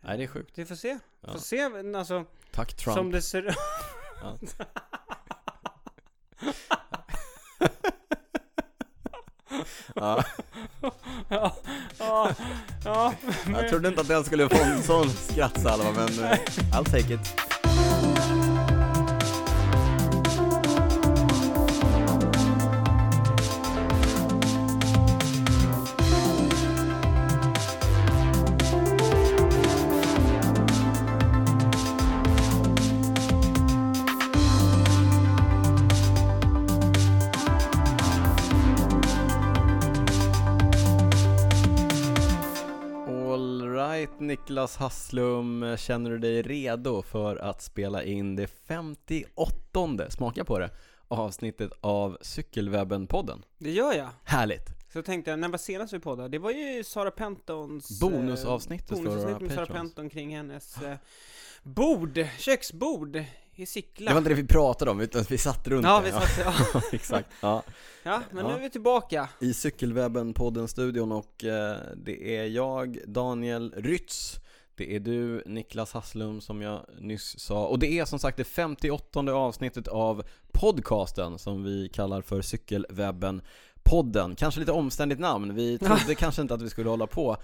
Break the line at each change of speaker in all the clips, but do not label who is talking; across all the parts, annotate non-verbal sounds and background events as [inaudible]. Nej, det är sjukt.
Vi får se.
Ja.
Får se, men alltså,
Tack Trump.
som det ser
Ja. ja.
ja, ja, ja.
Jag trodde inte att den skulle få en sån skrattsalva, men eh, I'll take it. All right, Niklas Hasslum, känner du dig redo för att spela in det 58 smaka på det, avsnittet av Cykelwebben-podden?
[laughs] Det gör jag.
Härligt!
Så tänkte jag, när var senast vi poddade? Det var ju Sara Pentons... eh,
Bonusavsnittet för
Bonusavsnitt
våra
med Sara
patrons.
Penton kring hennes eh, bord, köksbord i Sickla.
Det var inte det vi pratade om, utan vi satt runt
ja,
det.
vi satt, ja.
[laughs] Ja, exakt. Ja.
ja, men
Ja.
nu är vi tillbaka.
I Cykelwebben-podden-studion och eh, det är jag, Daniel Rytz. Det är du, Niklas Hasslum, som jag nyss sa. Och det är som sagt det 58 avsnittet av podcasten som vi kallar för Cykelwebben-podden. Kanske lite omständigt namn.
[laughs]
Vi trodde kanske inte att vi skulle hålla på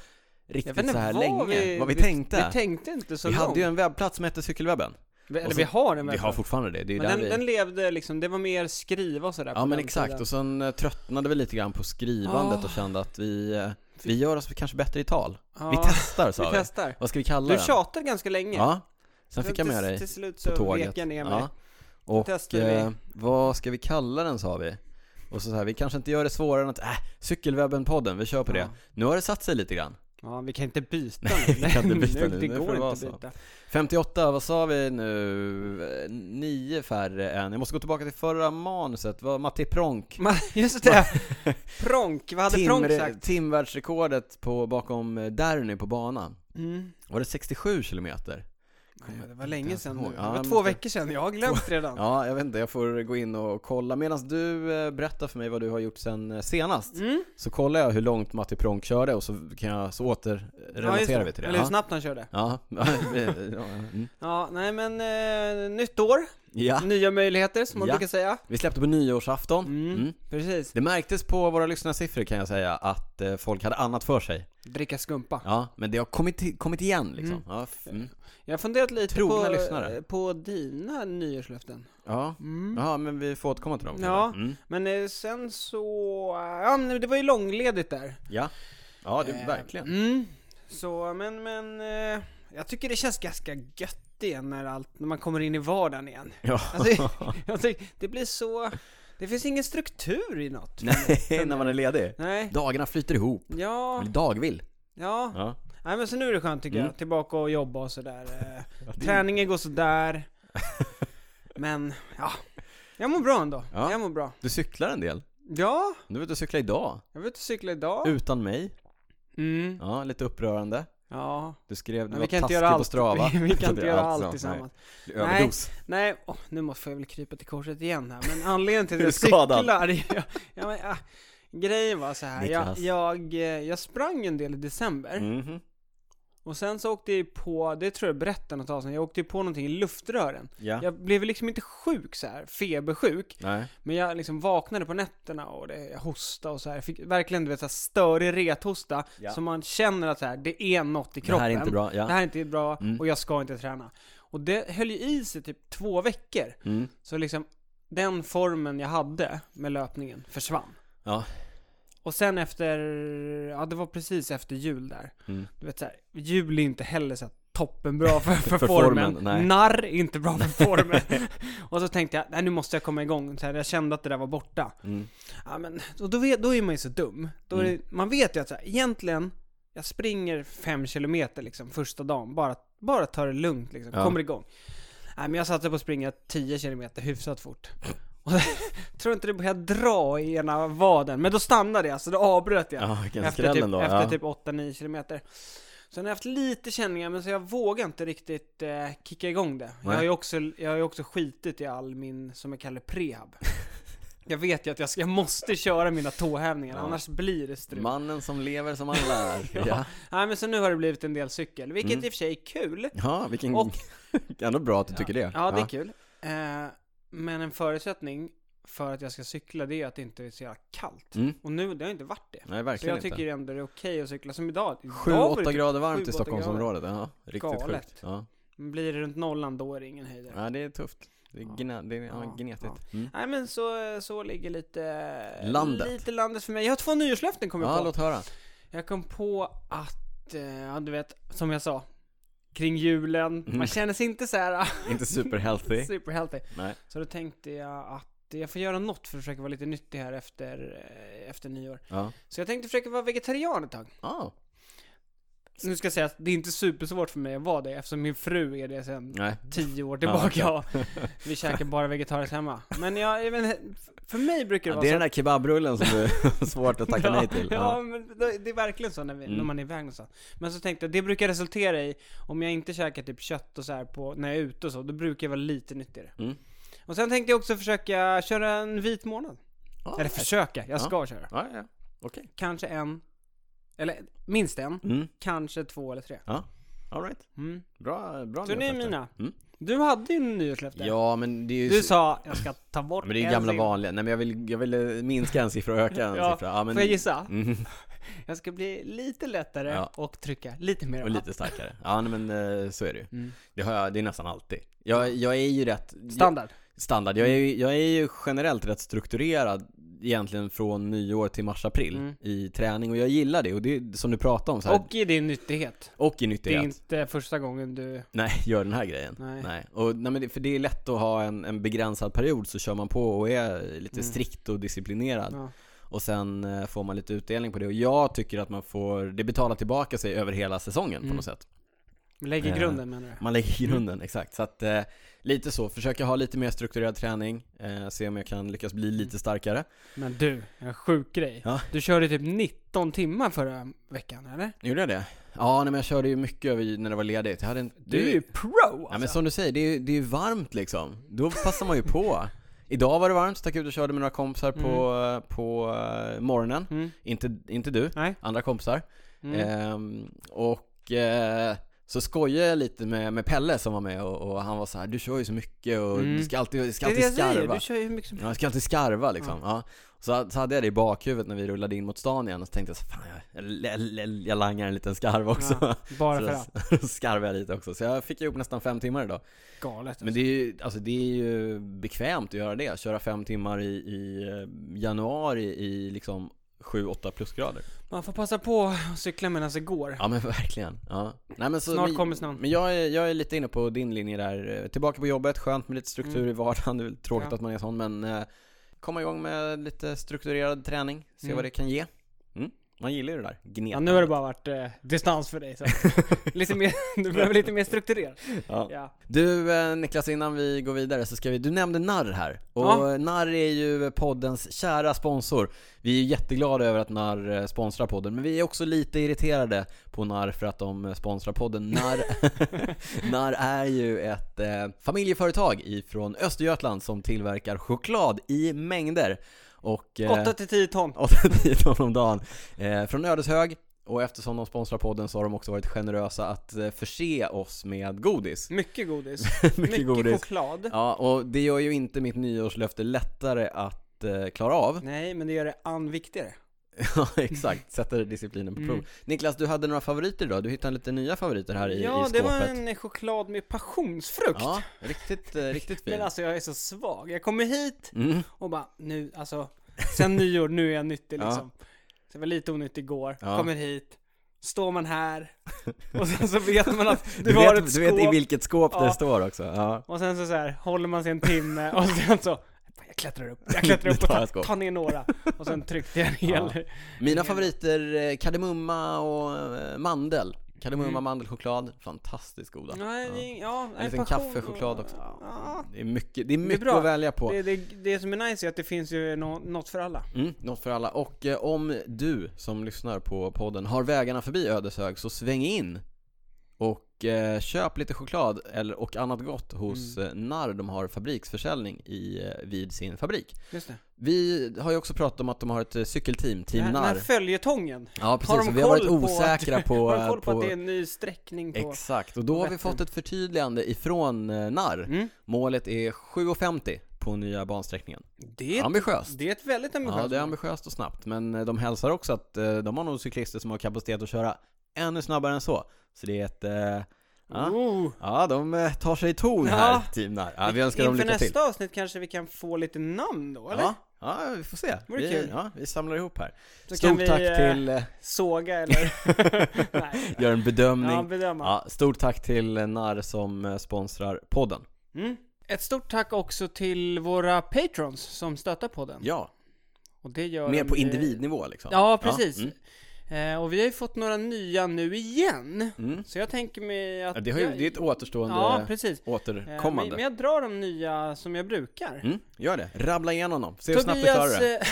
Jag
riktigt
vet inte
så här
vad
länge.
vi-
vad vi,
vi-
tänkte.
Vi tänkte inte så
Vi
långt.
hade ju en webbplats som hette Cykelwebben.
Vi- Eller
och så-
vi har den
Vi
väl?
har fortfarande det. det är
Men
där
den,
vi...
den levde liksom, det var mer skriva och sådär på
Ja men
den
exakt,
tiden.
och sen eh, tröttnade vi lite grann på skrivandet
Ah.
och kände att vi, eh, vi gör oss kanske bättre i tal.
Ja,
Vi testar sa
Ah. vi
vi.
testar.
Vad ska vi kalla
Du
den?
tjatade ganska länge.
Ja, sen fick jag med
Till
dig
slut
på
så
tåget.
vek jag ner mig.
Ja. Och
testade
eh, vad ska vi kalla den sa vi? Och så, så här, vi kanske inte gör det svårare än att, äh, Cykelwebben-podden, vi kör på det.
Ja.
Nu har det satt sig lite grann.
Ja, vi kan inte byta
Nej, vi kan inte byta nu.
Det
Nu får det
går
vara
inte
så.
att byta.
58, vad sa vi nu? Eh, Nio färre än, jag måste gå tillbaka till förra manuset, vad, Matti Pronk
Man, just det! Pronk, vad hade Pronk
Timre,
sagt?
timvärldsrekordet på, bakom eh, Derny på banan.
Mm.
Var det 67 kilometer?
Nej, det var länge
ens
sedan
ihåg.
nu. Det
Ja,
var
jag
två
måste-
veckor sedan, jag har glömt redan.
Ja, jag vet inte, jag får gå in och kolla. Medan du eh, berättar för mig vad du har gjort sen eh, senast,
Mm.
så kollar jag hur långt Matti Pronk körde och så kan jag, så
Ja, just
återrelaterar vi till det.
Eller hur
Ja,
snabbt han körde.
ja. [laughs] Ja, mm.
Ja, nej men eh, nytt år,
ja.
nya möjligheter som man
Ja.
brukar säga.
vi släppte på nyårsafton.
Mm.
Mm.
Precis.
Det märktes på våra lyssnarsiffror kan jag säga att eh, folk hade annat för sig.
Dricka skumpa.
Ja, men det har kommit, kommit igen liksom.
Mm.
Ja, f- mm.
Jag har funderat lite
Trogna
på, eh,
lyssnare.
på dina nyårslöften.
ja.
Mm.
Jaha, men vi får återkomma till dem.
Ja.
Mm.
Men eh, sen så, ja men det var ju långledigt där.
Ja, ja det,
Eh,
verkligen.
Mm. Så, men, men eh, jag tycker det känns ganska gött igen när, allt, när man kommer in i vardagen igen.
Ja.
Alltså, [laughs] jag tycker, det blir så, det finns ingen struktur i
[laughs]
något.
Nej, när man är ledig.
Nej.
Dagarna flyter ihop.
Ja,
Man blir dagvill.
ja.
Ja.
Nej men så nu är det skönt tycker
Mm.
jag. Tillbaka och jobba
[laughs]
och sådär. eh, Träningen går sådär. Men, ja. Jag mår bra ändå.
Ja.
Jag mår bra.
Du cyklar en del.
Ja,
Du var ute och cyklade idag.
jag var ute och cyklade idag.
Utan mig.
Mm.
Ja, lite upprörande.
Ja.
Du skrev, du
Men
var
vi kan inte
taskig
göra
på
allt.
Strava.
[laughs] Vi, vi kan inte
[laughs] Det är
göra
allt
allt
så.
tillsammans.
Nej.
Nej.
Överdos.
Nej, åh, nu måste jag väl krypa till korset igen här, men
[laughs]
anledningen till
Är
att
du
jag
skadad?
cyklar... [laughs] Ja, ja, men, ah, grejen var så här. Jag,
Niklas.
jag, eh, jag sprang en del i december,
Mhm.
och sen så åkte jag ju på, det tror jag berättade något avsnitt, jag åkte ju på någonting i luftrören.
Ja.
Jag blev liksom inte sjuk så här, febersjuk,
Nej.
men jag liksom vaknade på nätterna och det, jag hostade och så här. Fick verkligen du vet så här, störig rethosta,
Ja.
så man känner att så här, det är något i
Det
kroppen.
här är inte bra.
Det
Ja.
här är inte bra,
Mm.
och jag ska inte träna. Och det höll ju i sig typ två veckor.
Mm.
Så liksom, den formen jag hade med löpningen försvann.
Ja.
Och sen efter, ja det var precis efter jul där.
Mm.
Du vet såhär, jul är inte heller så här toppenbra för,
[laughs]
för,
För
formen.
formen, nej.
Narr är inte
[laughs]
bra för formen. och så tänkte jag, nej nu måste jag komma igång. Så här, jag kände att det där var borta.
Mm.
Ja, men, och då, vet, då är man ju så dum. Då är, det- Man vet ju att så här, egentligen, jag springer fem kilometer liksom första dagen, bara, bara ta det lugnt liksom,
Ja.
kommer igång. Nej men jag satsade på att springa 10 kilometer hyfsat fort. Och [laughs] tror inte det började dra i ena vaden, men då stannade jag, så då avbröt jag.
Ja, vilken
efter
skräll
typ,
ändå.
efter
Ja.
typ 8-9 kilometer. Så jag har jag haft lite känningar, men så jag vågar inte riktigt eh, kicka igång det. Jag har, ju också, jag har ju också skitit i all min, som jag kallar prehab. Jag vet ju att jag, ska, jag måste köra mina tåhävningar,
Ja.
annars blir det strul.
Mannen som lever som han lär.
[laughs]
ja.
Nej men så nu har det blivit en del cykel, vilket
Mm.
i och för sig är kul.
ja, vilken...
Och-
[laughs] Ändå bra att du tycker det.
Ja, det är kul. Eh, men en förutsättning för att jag ska cykla, det är att det inte är så jävla kallt.
Mm.
Och nu, det har inte varit det.
Nej,
Så
verkligen
jag tycker
inte.
ändå det är okej att cykla som idag. Idag var det
7-8
typ-
grader varmt
sju,
i
åtta
Stockholmsområdet. Ja, riktigt
Galet.
sjukt. Ja.
Blir det runt nollan, då är det ingen höjdare.
ja, det är tufft. Det är,
Ja.
gna... det är ja,
Ja,
gnetigt. Mm.
Nej men så, så ligger lite...
Landet.
Lite landet för mig. Jag har två nyårslöften kommer jag
Ja,
på.
låt höra.
Jag kom på att, eh, ja du vet, som jag sa. Kring julen,
Mm.
man känner sig inte så här ah,
Inte
[laughs]
superhealthy.
superhealthy.
Nej.
Så då tänkte jag att jag får göra något för att försöka vara lite nyttig här efter, eh, efter nyår.
Ja.
Så jag tänkte försöka vara vegetarian ett tag.
Ah,
Nu ska jag säga att det är inte supersvårt för mig att vara det eftersom min fru är det sedan
nej.
tio år tillbaka.
Ja,
Vi käkar bara vegetariskt hemma. Men jag, jag men, för mig brukar det
Ja,
vara
det är
så
den där kebabrullen som det är [laughs] svårt att tacka
[laughs]
nej till.
Ja,
Ja.
men det det är verkligen så när, vi,
Mm.
när man är iväg någonstans. Men så tänkte jag, det brukar resultera i, om jag inte käkar typ kött och så här på, när jag är ute och så, då brukar jag vara lite nyttigare.
Mm.
Och sen tänkte jag också försöka köra en vit månad.
Ah,
Eller försöka, jag
Ja.
ska köra.
Ja, ja. Okej.
Kanske en, eller minst en,
Mm.
kanske två eller tre.
All right.
Mm.
Bra, bra
Så det är
nyårslöfte.
mina.
Mm.
Du hade ju en nyårslöfte.
Ja, men det är ju...
Du sa, jag ska ta bort
Ja, men det är ju
en
gamla
sim-
vanliga. Nej men jag vill, jag vill eh, minska en siffra och öka en
Ja,
siffra. Ja, men...
Får jag gissa?
Mm,
[laughs] Jag ska bli lite lättare
Ja.
och trycka lite mer.
och lite starkare. Ja nej, men eh, så är det ju.
Mm.
Det, har jag, det är nästan alltid. Jag, jag är ju rätt...
Standard.
Jag, standard. Jag är, ju, jag är ju generellt rätt strukturerad egentligen från nyår till mars-april
Mm.
i träning och jag gillar det. Och det är som du pratade om så här, och,
Och i din nyttighet.
i
Det är
nyttighet.
inte första gången du...
Nej, [laughs] gör den här grejen.
Nej.
Och, nej men det, för det är lätt att ha en, en begränsad period så kör man på och är lite
Mm.
strikt och disciplinerad.
Ja.
Och sen eh, får man lite utdelning på det. Och jag tycker att man får, det betalar tillbaka sig över hela säsongen på
Mm.
något sätt.
Lägger
Eh,
grunden menar du?
Man lägger grunden, exakt. Så att eh, lite så, försöka ha lite mer strukturerad träning. Eh, se om jag kan lyckas bli lite starkare.
Men du, en sjuk grej.
Ja.
Du körde typ 19 timmar förra veckan eller?
Gjorde jag det? Ja, nej, men jag körde ju mycket över när det var ledigt. Jag hade en,
Du är ju pro alltså.
Ja men som du säger, det är ju det är ju varmt liksom. Då passar man ju på. Idag var det varmt, stack ut och körde med några kompisar på, på eh, morgonen.
Mm.
Inte, inte du,
Nej.
andra kompisar.
Mm.
Ehm, och eh, så skojade jag lite med, med Pelle som var med och, och han var så här: du kör ju så mycket och
Mm.
du ska alltid, du
det
ska
är det
alltid
jag säger,
skarva.
du kör ju hur mycket som
Ja, jag ska alltid skarva liksom. Ja. Så, så hade jag det i bakhuvudet när vi rullade in mot stan igen och så tänkte jag så, fan jag, jag, jag, jag langar en liten skarv också. [laughs]
Ja, Bara
Så
för allt.
då [laughs] skarvade jag lite också. Så jag fick ihop nästan fem timmar idag.
Galet.
Men det är ju, alltså det är ju bekvämt att göra det. Köra fem timmar i, i eh, januari i liksom 7-8 plusgrader.
Man får passa på att cykla medan det går.
Ja men verkligen. Ja. Nej, men så
Snart
vi-
kommer snön.
Men jag är, jag är lite inne på din linje där. Eh, Tillbaka på jobbet, skönt med lite struktur
Mm.
i vardagen. Det är väl tråkigt
Ja.
att man är sån men eh, komma igång med lite strukturerad träning. Se
Mm.
vad det kan ge. Mm. Man gillar ju det där. Gnetandet.
Ja, nu har det bara varit eh, distans
[laughs]
för dig så att- lite mer, [laughs] du behöver lite mer strukturerat.
Ja.
Ja.
Du eh, Niklas, innan vi går vidare så ska vi, du nämnde Narr här. Och
Ja.
Narr är ju poddens kära sponsor. Vi är ju jätteglada över att Narr eh, sponsrar podden, men vi är också lite irriterade på Narr för att de eh, sponsrar podden. Narr, [laughs] Narr är ju ett eh, familjeföretag ifrån Östergötland som tillverkar choklad i mängder. Och, eh, [laughs]
8 till 10 ton.
8-10 ton om dagen eh, från Ödeshög. Och eftersom de sponsrar podden så har de också varit generösa att eh, förse oss med godis. [laughs]
Mycket godis.
Mycket, godis.
choklad.
Ja, och det gör ju inte mitt nyårslöfte lättare att eh, klara av. [laughs]
Nej, men det gör det an viktigare.
Ja, exakt. Sätter disciplinen på prov.
Mm.
Niklas, du hade några favoriter idag. Du hittade lite nya favoriter här i, i
ja,
skåpet.
det var en choklad med passionsfrukt.
Ja, riktigt, eh, riktigt fin.
Men alltså jag är så svag. Jag kommer hit
Mm.
och bara nu, alltså sen nyår, nu är jag nyttig
Ja.
liksom. Så jag var lite onyttig igår,
Ja.
kommer hit, står
[laughs]
man här och sen så vet man att du,
Mm. Du,
har
vet,
ett
du
skåp.
vet i vilket skåp det
Ja.
står också. Ja.
Och sen så, så här, håller man sig en timme och sen så "Fan, jag klättrar upp, jag klättrar
Nu
upp och
tar
tar,
jag skåp.
tar ner några. Och sen tryckte jag ner.
Ja.
Mm.
Mina favoriter, eh, kardemumma och eh, mandel. Kardemumma,
Mm.
mandelchoklad. Fantastiskt goda.
Nej,
Ja.
det är- ja, nej,
En liten
passion
kaffechoklad
och-
också.
Ja.
Det är mycket, det är mycket
bra.
att välja på.
Det, det, det som är nice är att det finns ju nå- något för alla.
Mm, något för alla. Och eh, om du som lyssnar på podden har vägarna förbi Ödeshög så sväng in Och eh, köp lite choklad eller, och annat gott hos
Mm.
eh, Narr. De har fabriksförsäljning i, eh, vid sin fabrik.
Just det.
Vi har ju också pratat om att de har ett eh, cykelteam,
Den
Team
här, den här
Narr.
följetongen.
Ja,
har
precis.
de
Och vi har varit
koll på att-
osäkra på...
[laughs] Har du koll
eh,
på, att det är en ny sträckning på...
Exakt, och då har vi
Vättern.
fått ett förtydligande ifrån eh, Narr.
Mm.
Målet är 7.50 på nya bansträckningen.
Det är,
Ambitiöst.
det är ett väldigt ambitiöst
Ja, det är
mål.
ambitiöst och snabbt. Men eh, de hälsar också att eh, de har nog cyklister som har kapacitet att köra ännu snabbare än så. Så det är ett... eh, Ja,
Oh.
ja de eh, tar sig i ton här,
Ja.
team Narr. Ja, vi önskar dem
Inför
lycka
nästa
till.
avsnitt kanske vi kan få lite namn då, eller?
Ja, ja, vi får se.
Vore
Vi,
kul.
ja, vi samlar ihop här.
Så kan
Stort
vi,
tack
eh,
till... eh,
Såga eller...
[laughs]
Nej.
Gör en bedömning.
Ja, bedöma.
Ja, stort tack till eh, Narr som eh, sponsrar podden.
Mm. Ett stort tack också till våra patrons som stöttar podden.
Ja,
Och det gör
Mer
de
på
ju-
individnivå liksom?
Ja, precis.
mm.
Eh, och vi har ju fått några nya nu igen.
Mm.
Så jag tänker mig
Ja,
att...
Det, har ju,
jag-
det är ett återstående
Ja, precis. Eh, men,
återkommande.
men jag drar de nya som jag brukar.
Mm, gör det. Rabbla igenom dem. Se hur snabbt du klarar det.
eh,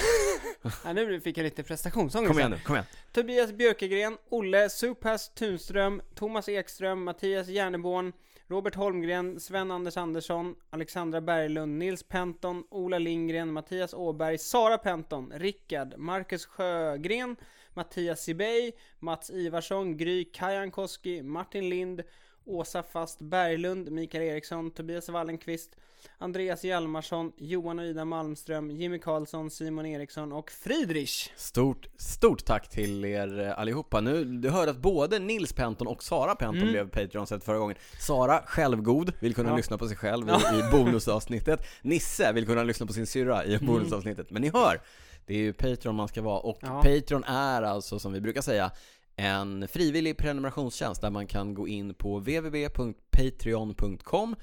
[laughs] ja, nu fick jag lite prestationsångest.
Kom
här.
igen nu, kom igen.
Tobias Björkegren, Olle Supas Tunström, Thomas Ekström, Mattias Järneborn, Robert Holmgren, Sven-Anders Andersson, Alexandra Berglund, Nils Penton, Ola Lindgren, Mattias Åberg, Sara Penton, Rickard, Marcus Sjögren, Mattias Sibey, Mats Ivarsson, Gry Kajankoski, Martin Lind, Åsa Fast Berglund, Mikael Eriksson, Tobias Wallenqvist, Andreas Hjalmarsson, Johan och Ida Malmström, Jimmy Karlsson, Simon Eriksson och Friedrich.
Stort, stort tack till er eh, allihopa. Nu, du hörde att både Nils Penton och Sara Penton blev Patreon-set förra gången. Sara, självgod, vill kunna lyssna på sig själv i, i bonusavsnittet. Nisse vill kunna lyssna på sin syrra i bonusavsnittet. Men ni hör, det är ju Patreon man ska vara och
Ja.
Patreon är alltså, som vi brukar säga, en frivillig prenumerationstjänst där man kan gå in på www.patreon.com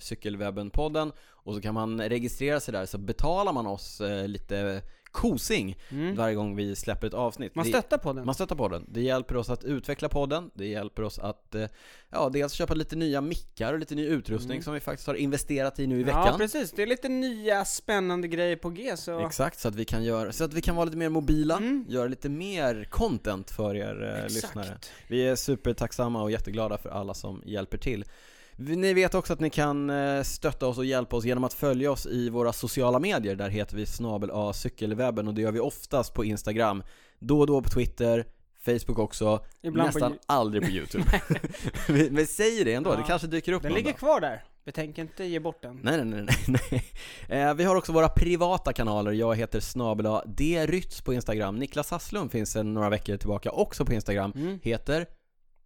cykelwebbenpodden och så kan man registrera sig där så betalar man oss eh, lite kosing varje gång vi släpper ett avsnitt.
Mm. Man
Det-
stöttar på den.
man stöttar podden. Det hjälper oss att utveckla podden, det hjälper oss att eh, ja, dels köpa lite nya mickar och lite ny utrustning som vi faktiskt har investerat i nu i veckan.
Mm. Ja, precis. Det är lite nya spännande grejer på G, så
Exakt, så att, vi kan göra, så att vi kan vara lite mer mobila,
Mm.
göra lite mer content för er eh, lyssnare. Vi är supertacksamma och jätteglada för alla som hjälper till. Vi- Ni vet också att ni kan eh, stötta oss och hjälpa oss genom att följa oss i våra sociala medier. Där heter vi snabel A cykelwebben och det gör vi oftast på Instagram, då och då på Twitter, Facebook också,
Ibland på
nästan
Yo-
aldrig
[laughs]
på YouTube. [laughs] vi, men säger det ändå,
Ja.
det kanske dyker upp
den
någon
ligger
dag.
kvar där. Vi tänker inte ge bort den.
Nej, nej, nej, nej, nej. Eh, Vi har också våra privata kanaler. Jag heter snabela drytz på Instagram. Niklas Hasslum finns sedan några veckor tillbaka också på Instagram.
Mm.
Heter,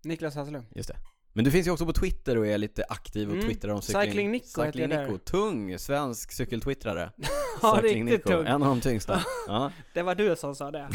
Niklas
[laughs]
Hasslum.
just det. Men du finns ju också på Twitter och är lite aktiv och
Mm.
twittrar om cykling.
Cycling Nico heter jag
Cycling
där.
Nico. Tung svensk cykeltwittrare.
Ja,
Cycling
riktigt
Nico.
tung.
En av de tyngsta. Ja,
Det var du som sa det.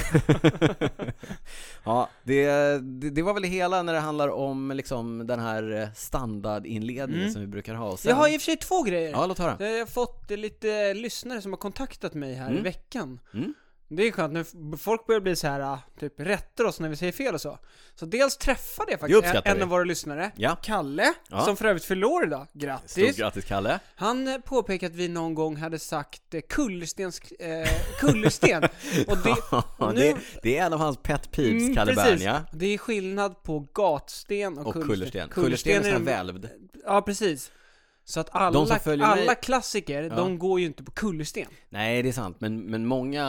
ja det, det, det var väl det hela när det handlar om liksom den här eh, standardinledningen som vi brukar ha. Och sen,
[laughs] Mm. Jag har i och för sig två grejer.
Ja, låt höra.
Jag har fått lite lyssnare som har kontaktat mig här i veckan.
Mm.
Det är skönt, nu f- folk börjar bli så här ah, typ rättar oss när vi säger fel och så. Så dels träffade jag
Det
faktiskt en,
uppskattar vi.
av våra lyssnare,
Ja.
Kalle,
Ja.
som för övrigt fyller år idag. Grattis!
Stort grattis Kalle.
Han eh, påpekade att vi någon gång hade sagt eh, kullerstens, eh,
[laughs]
kullersten. Och det,
Ja,
nu-
det, det är en av hans pet peeves,
Mm,
Kalle
precis.
Bernia.
Det är skillnad på gatsten och,
Och kullersten.
kullersten.
Kullersten är sån här
de-
välvd.
Ja, precis. Så att
De som
alla,
följer
alla
mig-
klassiker, de går ju inte på kullersten.
Nej, det är sant, men, men många...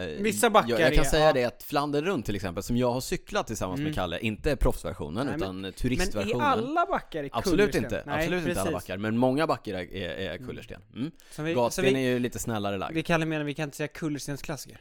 eh,
Vissa backar
Jag, jag kan
är-
säga
ja. Mm.
det att Flandern runt till exempel, som jag har cyklat tillsammans med Kalle, inte proffsversionen
Nej, men-
utan eh,
Men är
turistversionen.
alla backar i
Absolut
kullersten?
inte, absolut inte alla backar, men många backar är, är, är kullersten. Mm.
Så vi, så
Gatsten
vi,
är ju lite snällare lagd.
vi kallar menar vi kan inte säga kullerstensklassiker.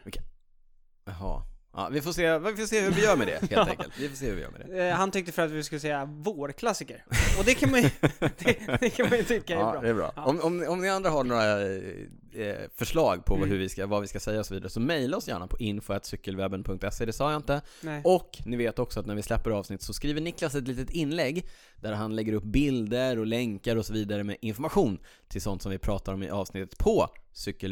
Jaha. Ja, vi, får se, vi får se hur vi gör med det
[laughs]
helt enkelt. Vi får se hur vi gör med det.
Eh, han tyckte för att vi skulle säga vårklassiker. Och det kan man ju, [laughs] det, det kan man ju tycka är
Ja,
bra.
det är bra.
Ja.
Om, om, om ni andra har några eh, eh, förslag på
Mm.
hur vi ska, vad vi ska säga och så vidare, så mejla oss gärna på info.cykelwebben.se, det sa jag inte.
Nej.
Och ni vet också att när vi släpper avsnitt så skriver Niklas ett litet inlägg där han lägger upp bilder och länkar och så vidare med information till sånt som vi pratar om i avsnittet på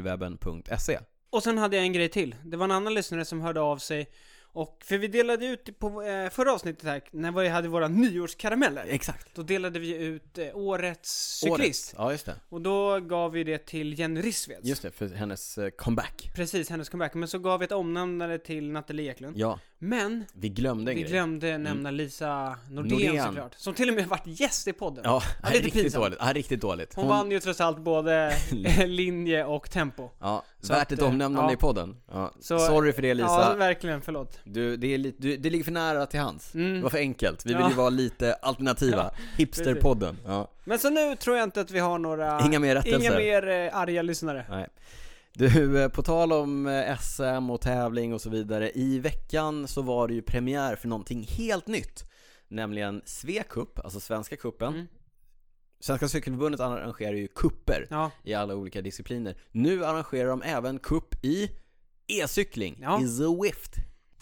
cykelwebben.se.
Och sen hade jag en grej till. Det var en annan lyssnare som hörde av sig. Och, för vi delade ut på eh, förra avsnittet här, när vi hade våra nyårskarameller.
Exakt.
Då delade vi ut eh, årets cyklist.
Ja, just det.
Och då gav vi det till Jenny Rissveds.
Just det, för hennes eh, comeback.
Precis, hennes comeback. Men så gav vi ett omnämnande till Nathalie Eklund.
Ja,
Men
Vi glömde en
Mm. vi
grej.
glömde nämna Lisa Nordén,
Nordén.
såklart. Som till och med varit gäst i podden.
Ja,
Ja, lite
riktigt
pinsamt.
dåligt. Ja, riktigt dåligt.
Hon, vann ju trots
[laughs]
allt både eh, linje och tempo.
Ja,
Så
värt
att,
ett
eh,
omnämnande
ja.
i podden. Ja.
Så-
Sorry för det
Ja,
Lisa.
verkligen. Förlåt.
du, det, är lite, du, det ligger för nära till hans. Det var för enkelt. Vi vill
Mm. Ja.
ju vara lite alternativa. Hipsterpodden. Ja.
Men så nu tror jag inte att vi har några...
Inga mer rättelser.
Inga mer eh, arga lyssnare.
Nej. Du, eh, på tal om eh, SM och tävling och så vidare. I veckan så var det ju premiär för någonting helt nytt. Nämligen Svea Cup, alltså Svenska Cupen.
Mm.
Svenska Cykelförbundet arrangerar ju kupper
Ja,
i alla olika discipliner. Nu arrangerar de även kupp i e-cykling,
Ja.
i Zwift.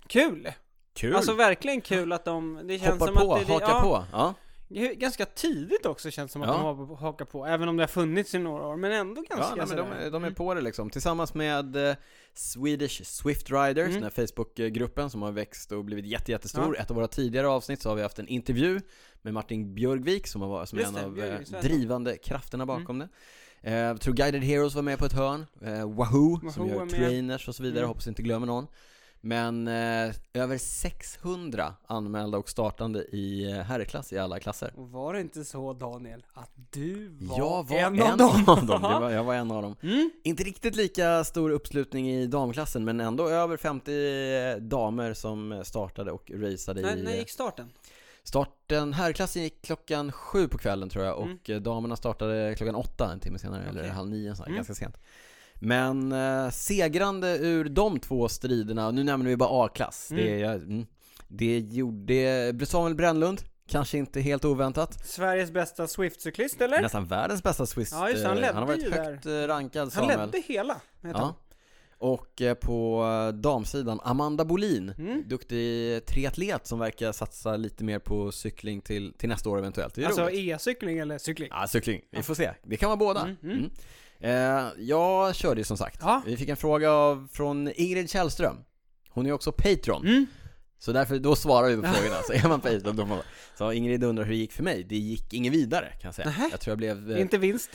kul!
Kul!
Alltså verkligen kul att de... Det känns
Hoppar
som
på,
att det,
hakar
ja,
på. Ja.
Det är Ganska tidigt också känns som att
Ja.
de har hakat på, även om det har funnits i några år, men ändå
Ja,
ganska
nej, men de,
sådär. Mm.
är- de är på det liksom. Tillsammans med eh, Swedish Swift Riders,
Mm.
den här Facebookgruppen som har växt och blivit jätte, jättestor. Ett av våra tidigare avsnitt så har vi haft en intervju med Martin Björgvik som, har varit, som är
Just
en
det,
av
Björgvik, Mm. så
eh,
heter han.
drivande krafterna bakom det. Eh, jag tror Guided Heroes var med på ett hörn, eh, Wahoo, som
Wahoo
gör
är med.
trainers och så vidare,
Mm.
hoppas inte glömmer någon. Men eh, över 600 anmälda och startande i eh, herrklass i alla klasser.
Och var det inte så Daniel, att du var,
Jag var
en, av dem?
Det var, [laughs] jag var en av dem.
[laughs] Mm.
Inte riktigt lika stor uppslutning i damklassen men ändå över 50 damer som startade och raceade
När,
i
när gick starten?
starten. Herrklassen gick klockan sju på kvällen tror jag och
Mm.
eh, damerna startade klockan åtta en timme senare eller
Okej.
halv nio så här,
Mm.
ganska sent. Men eh, segrande ur de två striderna, nu nämner vi bara A-klass, det,
Mm.
jag, mm, det gjorde Samuel Brännlund, kanske inte helt oväntat.
Sveriges bästa Swift-cyklist eller?
Nästan världens bästa Swiss.
Ja, just det, han
eh,
ledde
har varit
ju
högt eh, rankad
Han
Samuel.
ledde hela, heter han.
Ja. Och eh, på eh, damsidan, Amanda Bolin,
Mm.
duktig triatlet som verkar satsa lite mer på cykling till, till nästa år eventuellt. Det är
Alltså
roligt.
e-cykling eller cykling?
Ja, cykling. Vi får se. Det kan vara båda.
Mm, mm.
Mm. Eh, jag körde ju som sagt.
Ja.
Vi fick en fråga av, från Ingrid Källström. Hon är också Patreon.
Mm.
Så därför, då svarar vi på frågorna. Så är man Patreon, då får man. Så Ingrid undrar hur det gick för mig. Det gick inget vidare kan jag säga.
Nähä.
Jag tror jag blev eh,
Inte vinst?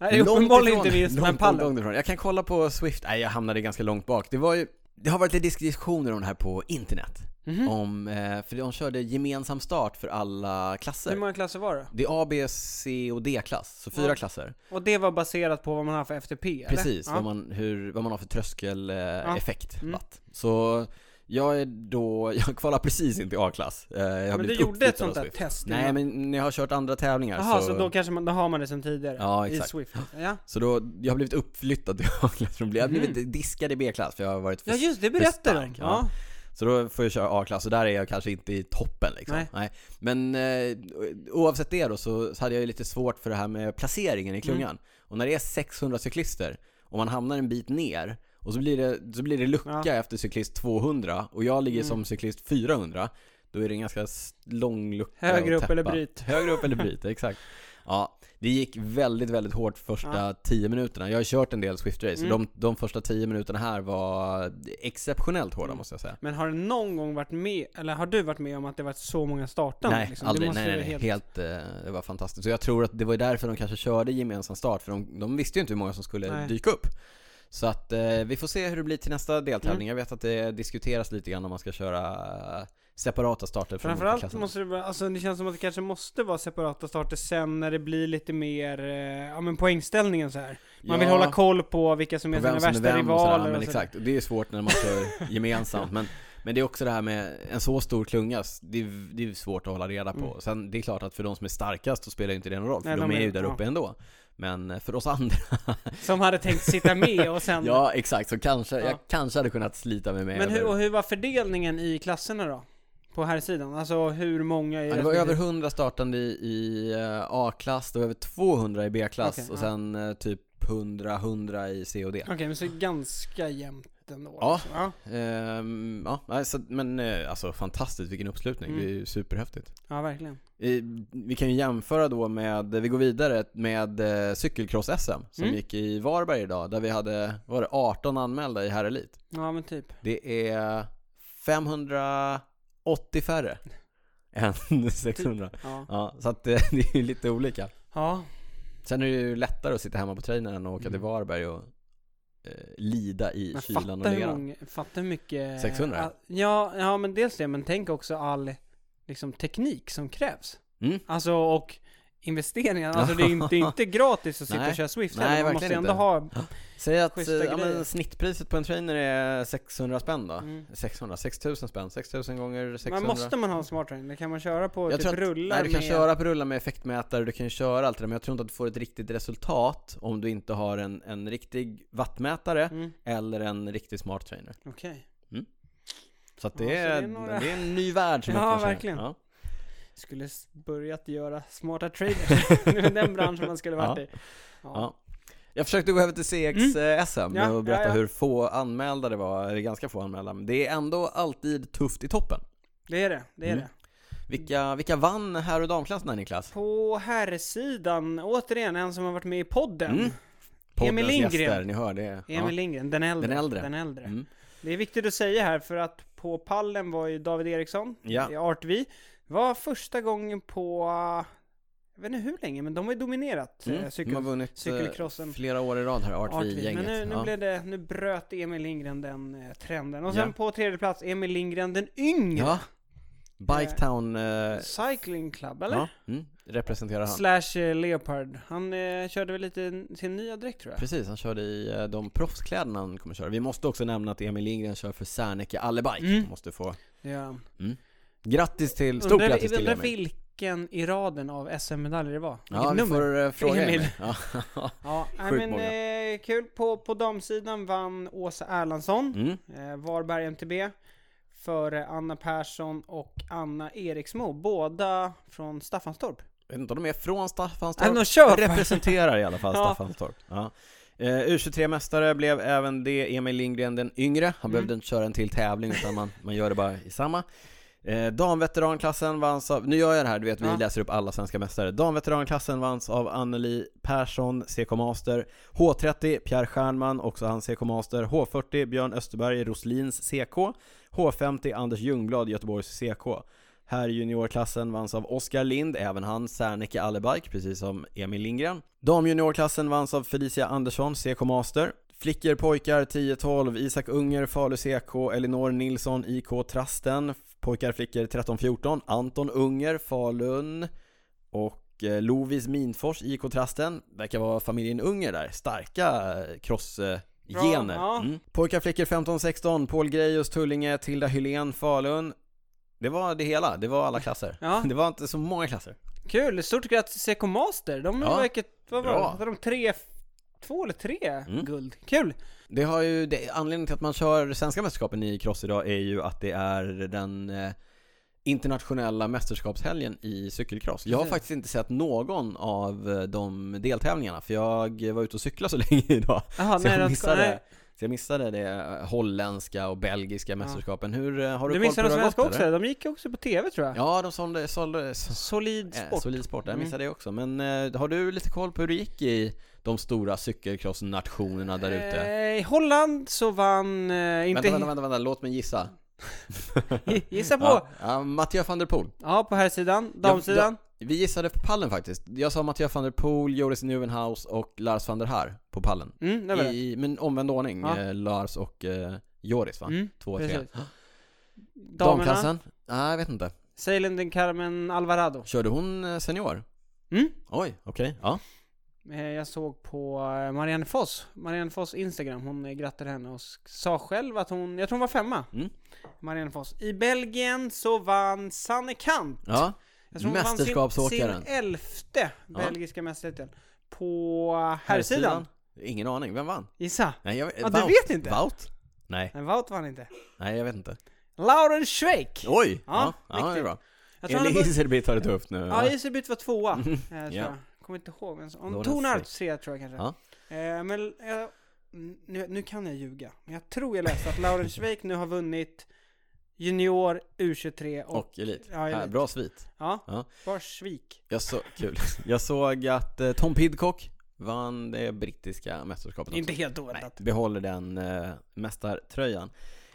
Nej,
Långt
uppenbarligen
ifrån.
inte vinst, men
Långt, långt,
pallen.
långt ifrån. Jag kan kolla på Swift, nej jag hamnade ganska långt bak. Det var ju, det har varit lite diskussioner om det här på internet.
Mhm.
Om, eh, för de körde gemensam start för alla
Hur
klasser.
många klasser var det?
Det är A, B, C och D-klass, så fyra
Ja.
klasser.
Och det var baserat på vad man har för FTP eller?
Precis,
Ja.
vad, man, hur, vad man har för tröskeleffekt. Eh,
Ja.
effekt,
Mm.
watt. Så jag är då, [laughs] jag kvalar precis in till A-klass. Eh, jag har
Men du
blivit
gjorde ett
uppflyttad av
sånt där
Swift.
test?
Nej
innan.
men jag har kört andra tävlingar
Jaha, så, då kanske man, då har man det sen tidigare?
Ja,
I
exakt.
Swift? Ja,
Så då, jag har blivit uppflyttad till A-klass från Jag har blivit
Mhm.
diskad i B-klass för jag har varit [laughs] för
ja just det, berättade de.
stark, ja.
Ja.
Så då får jag köra A-klass och där är jag kanske inte i toppen liksom. Nej.
Nej.
Men eh, oavsett det då så, så hade jag ju lite svårt för det här med placeringen
Mm.
i klungan. Och när det är 600 cyklister och man hamnar en bit ner och så blir det, så blir det lucka
Ja.
efter cyklist 200 och jag ligger
Mm.
som cyklist 400. Då är det en ganska s- lång lucka
Högre
att
upp eller
täppa. [laughs]
bryt.
Högre upp eller bryt, exakt. Ja, det gick väldigt, väldigt hårt första 10 minuterna. Jag har kört en del Swift Race
Mm.
och de, de första 10 minuterna här var exceptionellt hårda
Mm.
måste jag säga.
Men har du någon gång varit med, eller har du varit med om att det varit så många startande?
Nej,
liksom? Det
aldrig.
måste
Nej, nej,
ju
nej.
vara
Helt... eh, det var fantastiskt. Så jag tror att det var ju därför de kanske körde gemensam start, för de, de visste ju inte hur många som skulle
Nej.
dyka upp. Så att eh, vi får se hur det blir till nästa
Mm.
deltävling. Jag vet att det diskuteras lite grann om man ska köra eh, separata starter från olika
Framförallt
klasserna.
måste det vara, alltså det känns som att det kanske måste vara separata starter sen när det blir lite mer, eh, ja men poängställningen så här. Man vill
Ja,
hålla koll på vilka som
på
är sina
vem som är
värsta
vem och sådär.
rivaler
Ja, men
och sådär.
exakt. Och det är svårt när man kör [laughs] gemensamt. Men, men det är också det här med en så stor klunga, det är, det är svårt att hålla reda på.
Mm.
Sen det är klart att för de som är starkast så spelar ju inte det någon roll, för
Nej,
de,
de
är
är-
ju där
ja.
uppe ändå. Men eh, för oss andra
Som hade tänkt sitta
[laughs]
med och sen...
Ja, exakt. Så kanske, jag
Ja.
kanske hade kunnat slita mig med
men hur,
över-
och hur var fördelningen i klasserna då? På här sidan? Alltså hur många i
ja, det var över
respektive-
100 startande i, i eh, A-klass, det var över 200 i B-klass
Okej,
och
ja.
sen eh, typ 100-100 i C och D.
Okej, men så ganska jämnt ändå?
Ja.
liksom. ja.
Ehm, ja, nej, så- men eh, alltså fantastiskt, vilken uppslutning.
Mm.
Det är ju superhäftigt.
Ja, verkligen.
Eh, Vi kan ju jämföra då med, vi går vidare med eh, cykelcross-SM som
Mm.
gick i Varberg idag där vi hade, vad var det 18 anmälda i herrelit.
Ja, men typ.
Det är 580
[laughs]
färre än 600.
Ja.
Ja, så att eh, [laughs] det är ju lite olika.
ja.
Sen är det ju lättare att sitta hemma på trainern än att åka till
Mm.
Varberg och eh, lida i
Men
kylan
fatta
och
hur,
leran.
många, fatta hur mycket...
600?
Ah, Ja, ja, men dels det, men tänk också all liksom, teknik som krävs.
Mm.
Alltså, och
[laughs]
investeringar. Alltså, det är inte, det är inte gratis att sitta
Nej.
och köra Swift
Nej,
heller. Man måste
verkligen
ändå
inte.
ha...
Säg att eh,
Schyssta
ja,
grejer.
men, snittpriset på en trainer är 600 spänn då.
Mm.
600, 6000 spänn, 6000 gånger 600.
Man måste man ha en smart trainer? Kan man köra på
jag
typ
tror att,
rullar
nej, du kan
med...
köra på rullar med effektmätare, du kan köra allt det där, men jag tror inte att du får ett riktigt resultat om du inte har en, en riktig wattmätare
Mm,
eller en riktigt smart trainer.
Okej.
Så att det,
Ja, så det
är,
är några-
det är en ny värld som
[laughs] Ja,
öppnar sig.
verkligen.
Ja.
Skulle s- börjat göra smarta traders.
[laughs]
[laughs] det var den branschen man skulle varit
Ja.
i.
Ja. Jag försökte gå över till CX-SM
Mm. Ja,
och berätta
ja, ja.
hur få anmälda det var, eller ganska få anmälda, men det är ändå alltid tufft i toppen.
Det är det, det är
Mm.
det.
Vilka, vilka vann herr och damklassen här Niklas?
På herrsidan, återigen en som har varit med i podden.
Mm.
Emil
Poddens
Lindgren.
Gäster, ni hör det.
Emil Lindgren, den äldre.
Den äldre.
Den äldre.
Mm.
Det är viktigt att säga här för att på pallen var ju David Eriksson
Ja.
i Artvi. Var första gången på, eh, jag vet inte hur länge, men de har ju dominerat
Mm.
eh,
de har
cykel,
vunnit eh,
cykelcrossen.
flera år i rad här,
Artvi.
Artvi-gänget.
Men nu, nu,
ja.
blev det, nu bröt Emil Lindgren den eh, trenden. Och
Ja.
sen på tredje plats Emil Lindgren den yngre.
ja. Biketown... Eh,
Cycling Club eller?
ja. mm. Representerar han.
Slash eh, Leopard. Han eh, körde väl lite n- sin nya dräkt tror jag.
Precis, han körde i eh, de proffskläderna han kommer köra. Vi måste också nämna att Emil Lindgren kör för Serneke Allebike.
Mm.
Måste få...
Det gör han.
Grattis till... Stort
Undrar,
grattis till
undrar
Emil!
vilken i raden av SM-medaljer det var.
Ja,
Vilket
vi
nummer?
får eh, fråga
Emil.
Emil. [laughs] Ja.
Ja, nej,
Sjukt
men eh, kul. På, på damsidan vann Åsa Erlandsson,
Mm.
eh, Varberg MTB, före Anna Persson och Anna Eriksmo. Båda från Staffanstorp.
Jag vet inte om de är från Staffanstorp.
Även de kör!
representerar i alla fall
[laughs] Ja.
Staffanstorp. Ja. Eh, U23-mästare blev även det Emil Lindgren den yngre. Han
Mm.
behövde inte köra en till tävling utan man, man gör det bara i samma. Eh, damveteranklassen vanns av, nu gör jag det här, du vet vi
Ja.
läser upp alla svenska mästare. Damveteranklassen vanns av Anneli Persson, CK Master. H30, Pierre Stjernman, också han CK Master. H40, Björn Österberg, Roslins CK. H50, Anders Ljungblad, Göteborgs CK. Här juniorklassen vanns av Oskar Lind, även han Serneke Allebike, precis som Emil Lindgren. Damjuniorklassen vanns av Felicia Andersson, CK Master. Flickor, pojkar 10-12, Isak Unger, Falu CK, Elinor Nilsson, IK Trasten. Pojkar, flickor 13-14, Anton Unger, Falun och eh, Lovis Minfors, IK Trasten. Verkar vara familjen Unger där, starka eh, cross... eh,
Bra,
Gener.
ja.
Mm. Pojkar, flickor 15-16, Paul Grejus, Tullinge, Tilda Hylén, Falun, det var det hela, det var alla klasser.
Ja.
Det var inte så många klasser.
Kul! Stort grattis till CK Master. De
Ja,
verkar, vad var
bra. Mm.
det? Hade de tre, två eller tre guld? Kul!
Det har ju, det, anledningen till att man kör svenska mästerskapen i cross idag är ju att det är den eh, internationella mästerskapshelgen i cykelcross. Jag har
Precis.
faktiskt inte sett någon av eh, de deltävlingarna för jag var ute och cyklade så [laughs] länge idag.
Aha,
Så jag, missade,
nej.
så jag missade det eh, holländska och belgiska mästerskapen. Hur, eh, har du,
Du
koll på
missade
hur
de
det har
svenska
gått?
också?
eller?
De gick ju också på TV tror jag.
Ja, de sålde, sålde,
Solid
Eh,
sport.
Solidsport, jag
Mm.
missade det också. Men eh, har du lite koll på hur det gick i de stora cykelcrossnationerna där ute?
Eh, I Holland så vann, eh, inte...
vänta, vänta, vänta, vänta, låt mig gissa.
Gissa på!
Ja, ja, Mathieu van der Poel.
Ja, på här sidan, damsidan.
Vi gissade på pallen faktiskt. Jag sa Mathieu van der Poel, Joris Nieuwenhaus och Lars van der Haar på pallen.
Mm, det var det.
I, men omvänd ordning,
Ja.
eh, Lars och eh, Joris va?
Mm,
Två och tre.
precis. Damerna,
Damklassen? Nej, jag vet inte.
Seilen Carmen Alvarado.
Körde hon eh, senior?
Mm.
Oj, okej. Ja.
Eh, Jag såg på eh, Marianne Foss, Marianne Foss Instagram, hon eh, grattade henne och s- sa själv att hon, jag tror hon var femma.
Mm.
Marianne Foss. I Belgien så vann Sanne Kant.
ja.
Jag tror hon vann sin,
Mästerskapsåkaren.
sin elfte belgiska mästertiteln. På herrsidan.
Herrsidan? Ingen aning, vem vann?
Gissa.
Nej, jag,
Ja, du vet inte?
Vaut? Nej,
Men Wout vann inte.
nej jag vet inte.
Lauren Schweik.
Oj!
Ja,
Ja, ja, det är
riktigt.
bra.
Jag tror han har
Elin
vunnit-
Iserbyt har det tufft nu.
Ja,
Ja, Mm.
Iserbyt var tvåa. eh, tror
Ja.
jag. Kommer inte ihåg vem som...
Lawrence
Tornarp
Fick.
tre tror jag kanske.
Ja.
Eh, men jag, nu, nu kan jag ljuga. Men jag tror jag läste att Lauren Schweik nu har vunnit Junior, U23 och...
och Elit.
Ja,
Ja,
elit.
bra svit.
Ja,
Ja.
var svik.
Jag så, kul. Jag såg att eh, Tom Pidcock vann det brittiska mästerskapet också.
Inte helt
Nej,
oväntat.
behåller den eh, mästartröjan.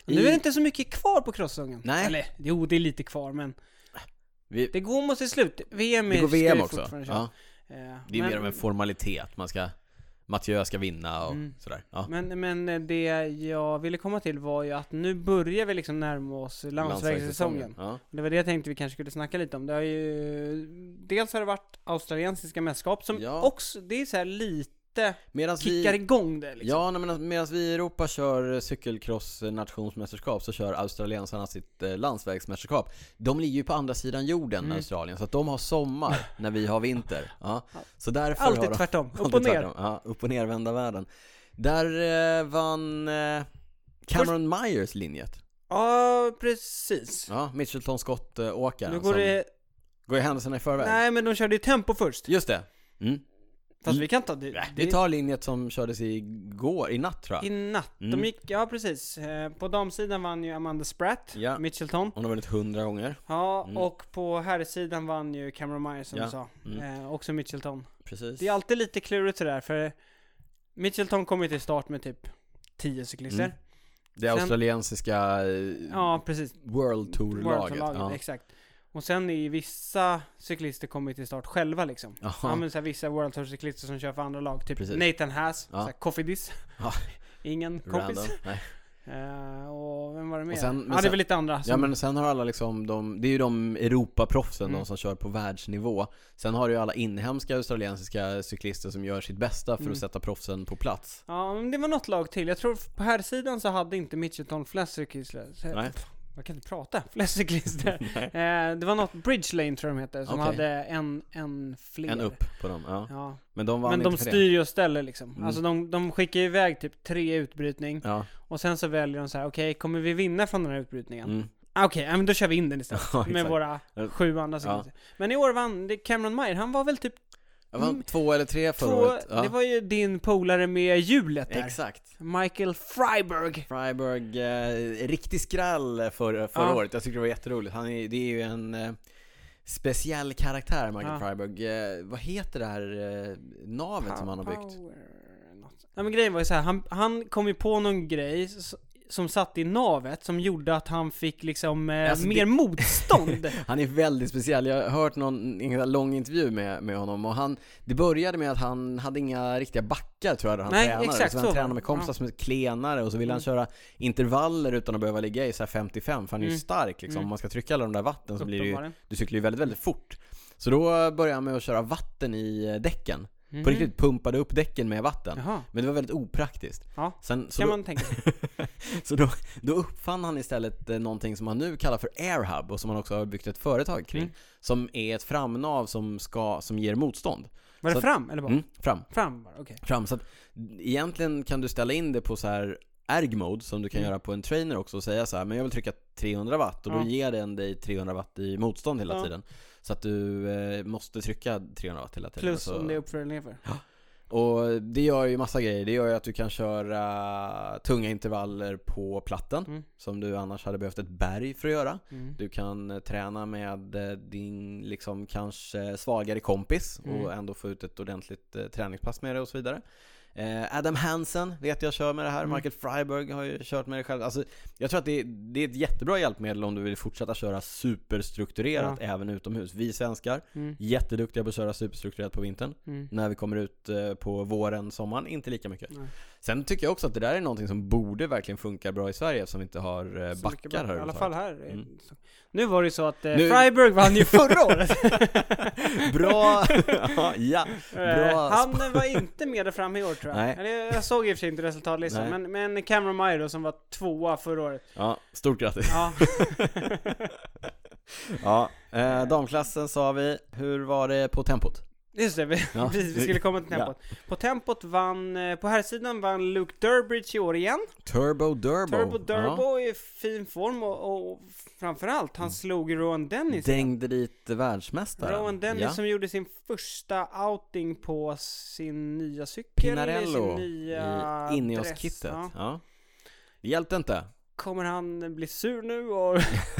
I,
Nu är det inte så mycket kvar på crossången.
Nej.
Eller, jo det är lite kvar men.
vi,
Det går mot sitt slut. VM
det
är
går VM
ska ju
också.
fortfarande köra.
Ja,
Eh,
det är
men-
mer av en formalitet. Man ska, Mathieu ska vinna och
Mm.
sådär. Ja.
Men, men eh, det jag ville komma till var ju att nu börjar vi liksom närma oss landsvägssäsongen.
Ja.
Det var det jag tänkte vi kanske skulle snacka lite om. Det har ju... Dels har det varit australiensiska mästerskap som
Ja.
också, det är så här lite
Medan vi...
kickar igång det liksom.
Ja, nej, men medan vi i Europa kör cykelcross nationsmästerskap så kör australiensarna sitt eh, landsvägsmästerskap. De ligger ju på andra sidan jorden,
Mm.
Australien, så att de har sommar
[laughs]
när vi har vinter. Ja. Så därför har [laughs]
Alltid
de...
tvärtom, upp
Alltid
och ner.
tvärtom. Ja, upp och nervända världen. Där eh, vann eh, Cameron Myers linjet.
Ja, precis.
Ja, Mitchelton Scott-åkaren.
Nu går
som
det...
Går ju händelserna i förväg.
Nej men de körde ju tempo först.
Just det. Mm.
Fast vi kan ta det. det...
Äh, Vi tar linjet som kördes igår, i natt tror jag.
I natt.
Mm.
De gick, ja precis. Eh, På damsidan vann ju Amanda Spratt,
Ja.
Mitchelton.
Hon har vunnit hundra gånger.
Ja,
Mm.
och på herrsidan vann ju Cameron Myers som
Ja.
du sa.
Mm.
Eh, också Mitchelton.
Precis.
Det är alltid lite klurigt sådär för Mitchelton kommer ju till start med typ 10 cyklister.
Mm. Det
Sen-
australiensiska eh,
Ja, precis.
World Tour-laget.
World-laget,
ja.
exakt. Och sen är ju vissa cyklister kommer ju till start själva liksom.
Ja.
Ja men såhär vissa World Tour-cyklister som kör för andra lag. Typ
Precis.
Nathan Haas,
Ja.
såhär Kofidis.
Ja.
[laughs] Ingen kompis.
Random. Nej.
Eh, och vem var det mer?
sen- men
ja, det är
sen-
väl lite andra.
Ja
som-
men sen har alla liksom de, det är ju de Europaproffsen,
Mm.
de som kör på världsnivå. Sen har du ju alla inhemska australiensiska cyklister som gör sitt bästa för
Mm.
att sätta proffsen på plats.
Ja, men det var något lag till. Jag tror f- på här sidan så hade inte Mitchelton flest cyklister. Så-
Nej.
pff, Jag kan inte prata. [laughs] Flest cyklister.
[laughs]
eh, det var något Bridge Lane tror jag de hette, som
Okej.
hade en, en fler.
En upp på dem, ja.
Ja.
Men de vann
Men
inte
de
för
styr ju och ställer liksom.
Mm.
Alltså de, de skickar ju iväg typ tre i utbrytning
det. Ja,
och sen så väljer de så här: okej, kommer vi vinna från den här utbrytningen?
mm.
Ah, Okej, ja, men då kör vi in den istället.
[laughs] Ja,
med
exakt.
våra sju andra cyklister. Men i år vann det Cameron Meyer, han var väl typ
Jag vann
Mm.
två eller tre förra
två,
året. Ja.
det var ju din polare med hjulet där.
Exakt.
Michael Freiberg.
Freiburg, eh, riktig skrall för, förra
Ja.
året. Jag tycker det var jätteroligt. Han är, det är ju en eh, speciell karaktär, Michael
Ja.
Freiburg. Eh, vad heter det här eh, navet som han har byggt?
Power- något. Nej men grejen var ju så här, han, han kom ju på någon grej s- som satt i navet som gjorde att han fick liksom eh,
Alltså,
mer
det- [laughs]
motstånd.
Han är väldigt speciell. Jag har hört någon en ganska lång intervju med, med honom och han, det började med att han hade inga riktiga backar tror jag där han
Nej,
tränade. så
exakt så
han
var
tränade
det.
med kompisar
Ja. Mm.
som är klenare och så ville han köra intervaller utan att behöva ligga i så här 55 för han är ju
Mm.
stark liksom.
Mm.
Om man ska trycka alla de där vatten så blir det ju,
Uppenbarligen.
du cyklar ju väldigt, väldigt fort. Så då började han med att köra vatten i eh, däcken. På
Mhm.
riktigt pumpade upp däcken med vatten.
Mm. Jaha,
Men det var väldigt opraktiskt.
Ja.
Sen, så
kan
då,
man tänka sig.
[laughs] så då, då uppfann han istället eh, någonting som han nu kallar för airhub och som han också har byggt ett företag kring.
Mm.
Som är ett framnav som, ska, som ger motstånd.
Var
Så
det
att-
fram eller bak?
Mm, fram.
Fram bara, okej.
fram. Så att egentligen kan du ställa in det på så här erg mode som du kan
Mm.
göra på en trainer också och säga så här, men jag vill trycka 300 watt och då
Ja.
ger den dig 300 watt i motstånd hela
Ja.
tiden. Så att du eh, måste trycka 300 watt hela tiden.
Plus
så...
om det är uppför eller nerför.
Och det gör ju massa grejer. Det gör ju att du kan köra tunga intervaller på platten.
Mm.
Som du annars hade behövt ett berg för att göra.
Mm.
Du kan eh, träna med eh, din liksom kanske svagare kompis
Mm.
och ändå få ut ett ordentligt eh, träningspass med det och så vidare. Eh, Adam Hansen vet jag kör med det här.
Mm.
Michael Freiberg har ju kört med det själv. Alltså, jag tror att det är, det är ett jättebra hjälpmedel om du vill fortsätta köra superstrukturerat även utomhus. Vi svenskar,
Mm.
jätteduktiga på att köra superstrukturerat på vintern
Mm.
när vi kommer ut eh, på våren, sommaren, inte lika mycket.
Nej.
Sen tycker jag också att det där är någonting som borde verkligen funka bra i Sverige eftersom vi inte har eh,
Så mycket
backar här
I alla fall
överhuvudtaget.
här. eh,
Mm.
så. Nu var det ju så att eh,
Nu-
Freiberg
[laughs]
vann ju förra året. [laughs]
Bra! [laughs] Ja, ja,
Eh,
bra!
han var inte med där framme i år tror jag.
Nej.
Eller, jag såg i och för sig inte resultatlistan,
Nej.
men, men Cameron Meyer då, som var tvåa förra året.
Ja, stort grattis!
Ja.
Ja, eh, damklassen sa vi. Hur var det på tempot?
Just det, vi,
Ja.
vi skulle komma till tempot. På tempot vann, eh, på här sidan vann Luke Durbridge i år igen.
Turbo Durbo.
Turbo Durbo
Ja.
är i fin form och, och framförallt,
Mm.
han slog Rowan Dennis.
Dängde dit världsmästaren.
Rowan Dennis
ja.
som gjorde sin första outing på sin nya cykel.
Pinarello
i sin nya
i
dress.
Ineos-kittet.
Ja.
Ja. Det hjälpte inte.
Kommer han bli sur nu
[laughs]
och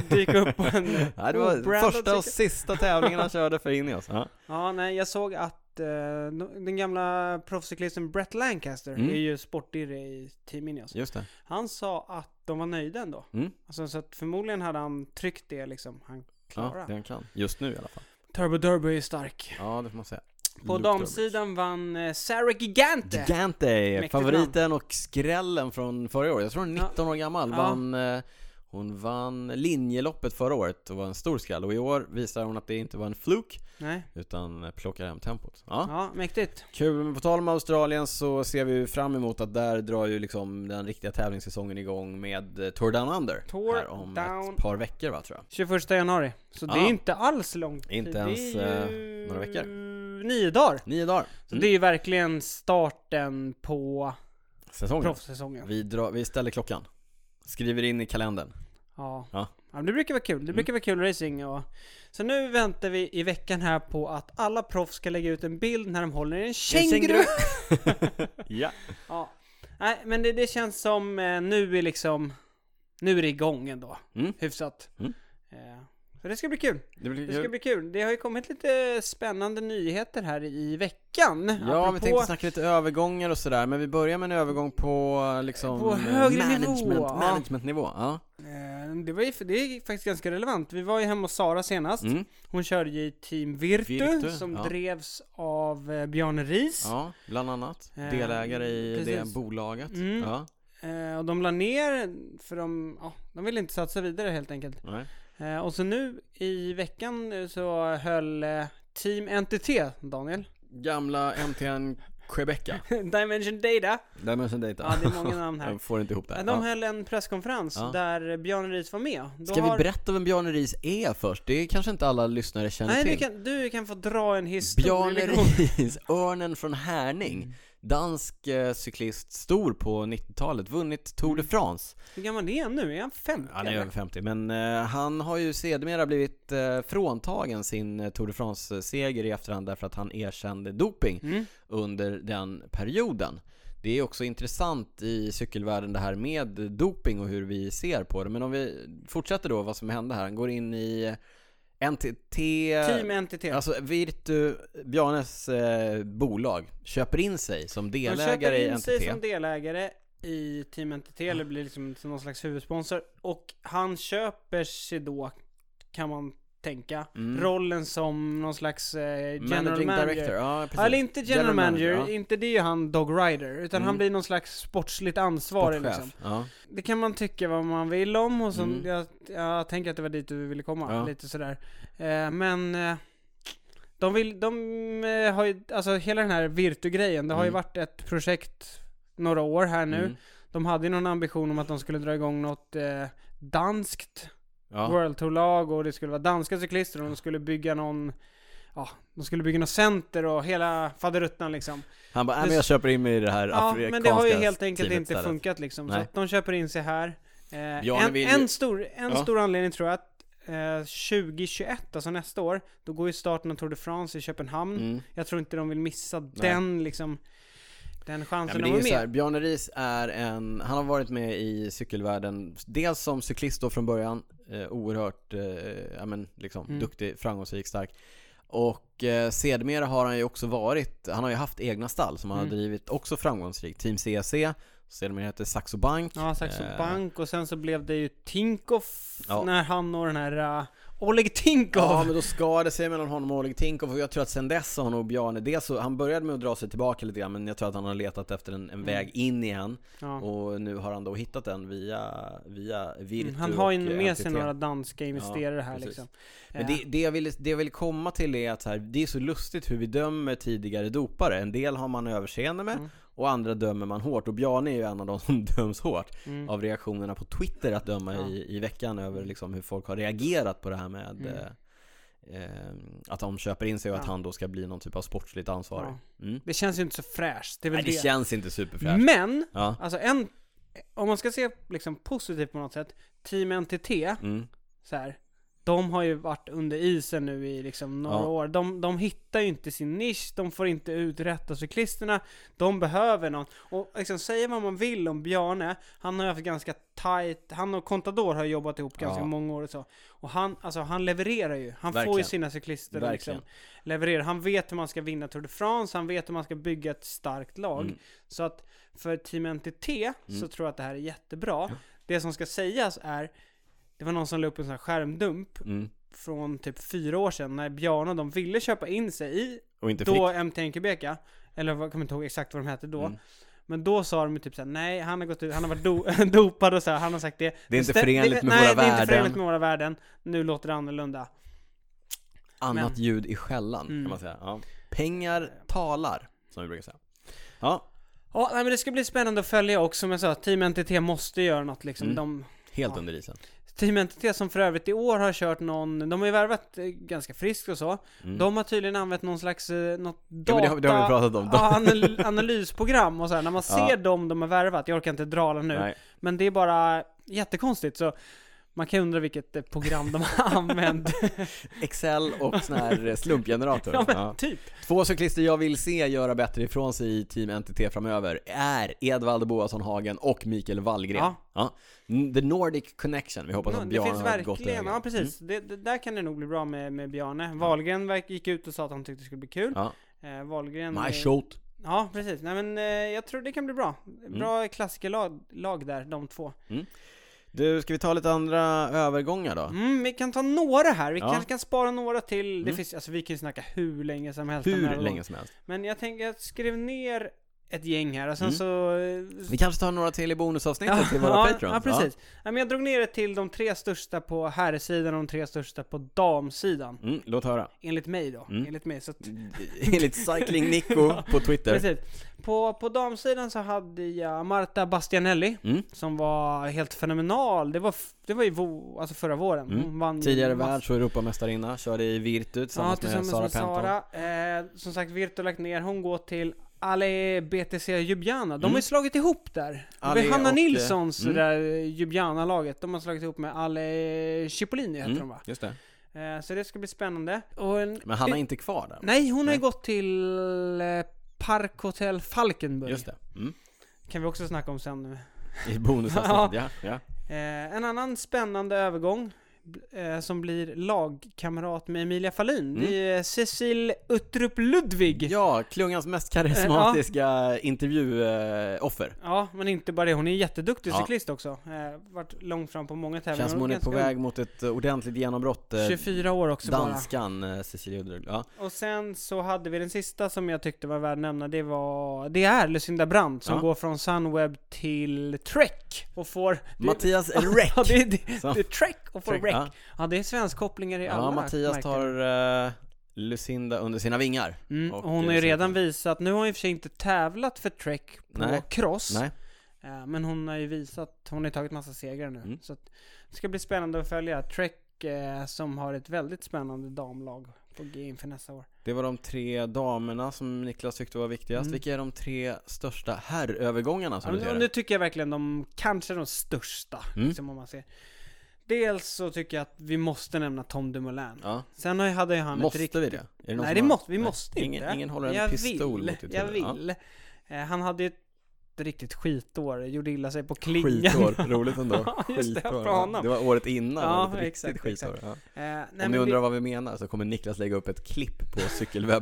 dyka upp på en
Nej, det var
obrandad
första och
cykel?
sista tävlingen
[laughs]
han körde för Ineos. Ja.
Ja, nej, jag såg att eh, no- den gamla proffscyklisten Brett Lancaster
Mm.
är ju sportdirre i Team Ineos.
Just det.
Han sa att de var nöjda ändå.
Mm.
Alltså, så att förmodligen hade han tryckt det liksom han
Ja,
klarade.
det han kan. Just nu i alla fall.
Turbo Derby är stark.
Ja, det får man säga.
På
Luktar
damsidan vann eh, Sarah Gigante.
Gigante,
Mäktigt
favoriten och skrällen från förra året. Jag tror hon är
Ja.
19 år gammal.
Ja.
Vann, eh, hon vann linjeloppet förra året och var en stor skräll. Och i år visar hon att det inte var en fluk
Nej.
utan plockar hem tempot. Ja.
Ja, mäktigt.
Kul, men på tal om Australien så ser vi ju fram emot att där drar ju liksom den riktiga tävlingssäsongen igång med eh, Tour Down Under.
Tour
här om
Down-
ett par veckor va tror jag.
21 januari. Så det
Ja.
är inte alls långt.
Inte ens, eh, några veckor.
Nio dagar.
Nio dagar.
Så
Mm.
det är ju verkligen starten på
Säsongen.
proffssäsongen.
Vi, drar, vi ställer klockan. Skriver in i kalendern.
Ja.
Ja.
ja. men det brukar vara kul. Det brukar vara kul racing och... Så nu väntar vi i veckan här på att alla proffs ska lägga ut en bild när de håller i en känguru.
ja.
Ja. Nej, men det, det känns som eh, nu är liksom... Nu är det igång ändå.
Mm.
Hyfsat.
Mm.
Eh, så det ska bli kul.
Det blir
Det ska bli kul. Det har ju kommit lite spännande nyheter här i veckan.
Ja, vi tänkte snacka lite övergångar och sådär, men vi börjar med en övergång på liksom
På högre
management,
nivå, ja.
managementnivå. Ja.
Eh, det, var ju, det är faktiskt ganska relevant. Vi var ju hemma hos Sara senast.
Mm.
Hon körde ju i Team Virtu,
Virtu,
som
ja.
drevs av eh, Björn Ries.
ja, bland annat.
Eh,
Delägare i det
precis.
bolaget.
Mm.
Ja,
Eh, och de la ner för de, ja, de ville inte satsa vidare helt enkelt.
nej.
Eh, och så nu i veckan eh, så höll eh, Team NTT, Daniel, [laughs]
Gamla MTN Quebeca.
Dimension Data,
Där man dejta.
ja det
[laughs]
är många namn här.
Jag får inte ihop det.
Eh,
här.
De
ja.
höll en presskonferens
Ja.
där Björn Ries var med. Då
Ska vi
har-
berätta vem Björn Ries är först? Det är kanske inte alla lyssnare känner
Nej,
till.
du kan, du kan få dra en
Bjarne
[laughs] historia.
Riis, örnen från
Mm.
Härning. Dansk eh, cyklist, stor på 90-talet, vunnit Tour
Mm.
de France.
Hur gammal är han nu? Är han 50?
Han är
eller?
över 50, men eh, han har ju sedermera blivit eh, fråntagen sin eh, Tour de France-seger i efterhand därför att han erkände doping
Mm.
under den perioden. Det är också intressant i cykelvärlden det här med doping och hur vi ser på det. Men om vi fortsätter då vad som hände här. Han går in i eh, NTT...
Team NTT.
Alltså Virtu, Bjarnes eh, bolag, köper in sig som
De
delägare
köper
i
in
NTT.
sig som delägare i Team NTT, eller blir liksom någon slags huvudsponsor. Och han köper sig då, kan man tänka,
Mm.
rollen som någon slags eh, general
Managing
manager.
director, ja precis.
Ja, eller inte general,
General
manager,
manager, ja.
inte det är ju han Dog Rider, utan
Mm.
han blir någon slags sportsligt ansvarig
Sportchef,
liksom.
ja.
Det kan man tycka vad man vill om och så,
Mm.
jag, jag tänker att det var dit du ville komma,
Ja.
lite sådär. Eh, men eh, de vill, de eh, har ju, alltså hela den här Virtu-grejen, det har ju
Mm.
varit ett projekt några år här nu.
Mm.
De hade ju någon ambition om att de skulle dra igång något eh, danskt
Ja.
World Tour-lag och det skulle vara danska cyklister och de skulle bygga någon, ja, de skulle bygga något center och hela faderuttan liksom.
Han bara, äh,
Det-
men jag köper in mig i det här
Ja,
afrikanska
men det har ju helt enkelt
teamet
inte
istället.
funkat liksom. Så
Nej.
att de köper in sig här. Eh,
Ja, men
en
vi-
en, stor, en
Ja.
stor anledning tror jag att eh, 2021, alltså nästa år, då går ju starten av Tour de France i Köpenhamn.
Mm.
Jag tror inte de vill missa den liksom, den
Ja,
chansen
men det
att
är
vara
ju så här,
med.
Bjarne Riis är en, han har varit med i cykelvärlden, dels som cyklist då från början, eh, oerhört, eh, ja men liksom
Mm.
duktig, framgångsrik, stark. Och eh, sedermera har han ju också varit, han har ju haft egna stall som han
Mm.
har drivit också framgångsrikt. Team CEC, sedermera hette Saxo Bank.
Ja, Saxo
Eh,
Bank och sen så blev det ju Tinkoff
Ja.
när han och den här eh, Oleg Tinkoff.
Ja, men då skar det sig mellan honom och Oleg Tinkov och jag tror att sen dess har nog Bjarne, dels så, han började med att dra sig tillbaka lite grann men jag tror att han har letat efter en, en
Mm.
väg in igen
Ja.
och nu har han då hittat den via, via Virtu
Mm, han har ju
och, eh,
med sig
NTT.
några danska investerare här
precis.
liksom.
Men
Eh,
det, det, jag vill, det jag vill komma till är att så här, det är så lustigt hur vi dömer tidigare dopare. En del har man överseende med
Mm.
och andra dömer man hårt. Och Bjarne är ju en av de som [laughs] döms hårt
Mm.
av reaktionerna på Twitter att döma
Ja.
i, i veckan över liksom hur folk har reagerat på det här med
Mm.
eh, eh, att de köper in sig och att
Ja.
han då ska bli någon typ av sportsligt ansvarig. Mm.
det känns ju inte så fräscht, det är väl
Nej, det
det.
känns inte superfräscht.
Men,
Ja.
alltså en, om man ska se liksom positivt på något sätt, Team NTT,
Mm.
så här, de har ju varit under isen nu i liksom några
Ja.
år. De, de hittar ju inte sin nisch, de får inte ut rätta cyklisterna, de behöver någon. Och liksom säga vad man vill om Bjarne, han har ju haft ganska tight, han och Contador har jobbat ihop ganska
Ja.
många år och så. Och han, alltså han levererar ju. Han får ju
Verkligen.
sina cyklister och
Verkligen.
liksom levererar. Han vet hur man ska vinna Tour de France, han vet hur man ska bygga ett starkt lag.
Mm.
Så att för Team NTT så tror jag att det här är jättebra. Det som ska sägas är, det var någon som la upp en sån här skärmdump
Mm.
från typ fyra år sedan när Bjarne och de ville köpa in sig i
Och inte fick.
Då MT Enkebeka, eller vad- jag kommer inte ihåg exakt vad de hette då.
Mm.
Men då sa de ju typ såhär, nej han har gått ut, han har varit do- [laughs] dopad och så här, han har sagt det.
Det är inte
Stä-
förenligt med våra
nej, det är inte förenligt
värden.
med våra värden. Nu låter det annorlunda.
Annat
men-
ljud i skällan
Mm.
kan man säga. Ja. Pengar talar, som vi brukar säga. Ja,
Ja, nej, men det ska bli spännande att följa också. Som jag sa, Team NTT måste göra något liksom.
Mm.
De,
helt
Ja.
under isen.
Team NTT som för övrigt i år har kört någon, de har ju värvat eh, ganska friskt och så.
Mm.
De har tydligen använt någon slags, eh, något
Ja,
data...
men det, har, det har vi pratat om.
Ja, anal- analysprogram och så här. när man
[laughs] Ja.
ser dem de har värvat, jag orkar inte dra alla nu,
Nej.
men det är bara jättekonstigt så man kan ju undra vilket eh, program de har [laughs]
[laughs]
använt.
Excel och sån här eh, slumpgenerator.
[laughs] ja men
Ja.
typ.
Två cyklister jag vill se göra bättre ifrån sig i Team NTT framöver är Edvald Boasson Hagen och Mikael Wallgren.
Ja.
N- Mm, The Nordic Connection, vi hoppas
Ja,
att
det
Bjarne
finns
har Mm. ett gott
verkligen,
öga.
ja precis. Det, det, där kan det nog bli bra med, med Bjarne. Wahlgren verk- gick ut och sa att han tyckte det skulle bli kul.
Mm. Ja.
Eh, Wahlgren...
My
eh,
shot.
Ja, precis. Nej men eh, jag tror det kan bli bra.
Mm.
Bra klassikerlag lag där, de två.
Du, ska vi ta lite andra övergångar då?
Mm, vi kan ta några här. Vi
Ja.
kanske kan spara några till. Det
Mm.
finns, alltså vi kan ju snacka hur länge som helst. om den
Hur
här
länge som helst.
Men jag tänker att skriv ner ett gäng här och sen
Mm.
så... eh,
Vi kanske tar några till i bonusavsnittet till våra
ja,
patrons.
ja, precis. Ja. Men jag drog ner det till de tre största på herrsidan och de tre största på damsidan.
Ja. Mm, låt höra. [laughs]
Enligt mig då.
Mm.
Enligt mig. Så att,
Enligt Cycling Nico på Twitter.
precis. På, på damsidan så hade jag Marta Bastianelli.
Mm.
Som var helt fenomenal. Det var, f- det var ju vo, alltså förra våren.
Mm.
Hon vann ju
Tidigare
mass-
världs och Europamästarinna, körde i Virtu
Ja,
tillsammans,
tillsammans
med Sara
med
Penton.
Sara. Eh, som sagt, Virtu har lagt ner. Hon går till Ale BTC Ljubljana. De har
Mm.
ju slagit ihop där.
Ale
det var Hanna
och, eh,
Nilssons
mm.
det där Ljubljana-laget. De har slagit ihop med Ale Cipollini heter de
Mm,
va?
just det.
Eh, så det ska bli spännande. Och en,
Men Hanna är inte kvar där.
nej, hon har
Nej.
ju gått till eh, Park Hotel Falkenberg.
Just det. Mm.
Kan vi också snacka om sen eh, nu.
I
[laughs]
bonusavsnittet, ja. ja.
Eh, en annan spännande övergång bl- eh, som blir lagkamrat med Emilia Fahlin. Det är eh, Cecil Uttrup Ludvig.
Mm. Ja, klungans mest karismatiska intervjuoffer.
Ja, men inte bara det. Hon är en jätteduktig
Ja.
cyklist också. Eh, varit långt fram på många tävlingar.
Känns som hon är
ganska
på
ung.
väg mot ett eh, ordentligt genombrott. eh,
24 år också
Danskan eh, Cecilia Uddrell. Ja.
bara. Och sen så hade vi den sista som jag tyckte var värd att nämna. Det var... Det är Lucinda Brandt som
Ja.
går från Sunweb till Trek och får... det-
Mattias Räck.
[laughs] Ja, det, är- det,
Så.
det är Trek och får
Trek,
Rec.
ja.
Ja. det är svenskkopplingar i alla
Ja, Mattias
märken.
tar eh, Lucinda under sina vingar.
Mm,
och,
och hon har
eh,
ju redan visat, nu har hon i och för sig inte tävlat för Trek på
Nej.
cross.
Nej.
Eh, Men hon har ju visat, hon har ju tagit massa segrar nu.
Mm.
Så att det ska bli spännande att följa Trek eh, som har ett väldigt spännande damlag på G inför nästa år.
Det var de tre damerna som Niklas tyckte var viktigast.
Mm.
Vilka är de tre största herrövergångarna som
Ja,
du
men,
ser
och
Alltså, det?
nu tycker jag verkligen de, kanske de största.
Mm.
Liksom, om man ser. Dels så tycker jag att vi måste nämna Tom Dumoulin.
Ja.
Sen har ju- hade ju han
Måste
ett
vi
riktigt...
det? Är det någon som
Nej, det
har-
måste, vi
Nej.
måste
ingen,
inte.
Ingen håller en
jag
pistol
vill,
mot ditt
Jag
huvud. Ja.
vill. Eh, han hade ju ett riktigt skitår, gjorde illa sig på Eh, klingan. [laughs]
Skitår, roligt ändå.
Ja, just det, jag
Skitår.
pratar om.
Det var året innan,
Ja,
ja, ett riktigt
exakt,
skitår. Ja.
Eh, nej, men
Om ni
det-
undrar vad vi menar så kommer Niklas lägga upp ett klipp
[laughs]
på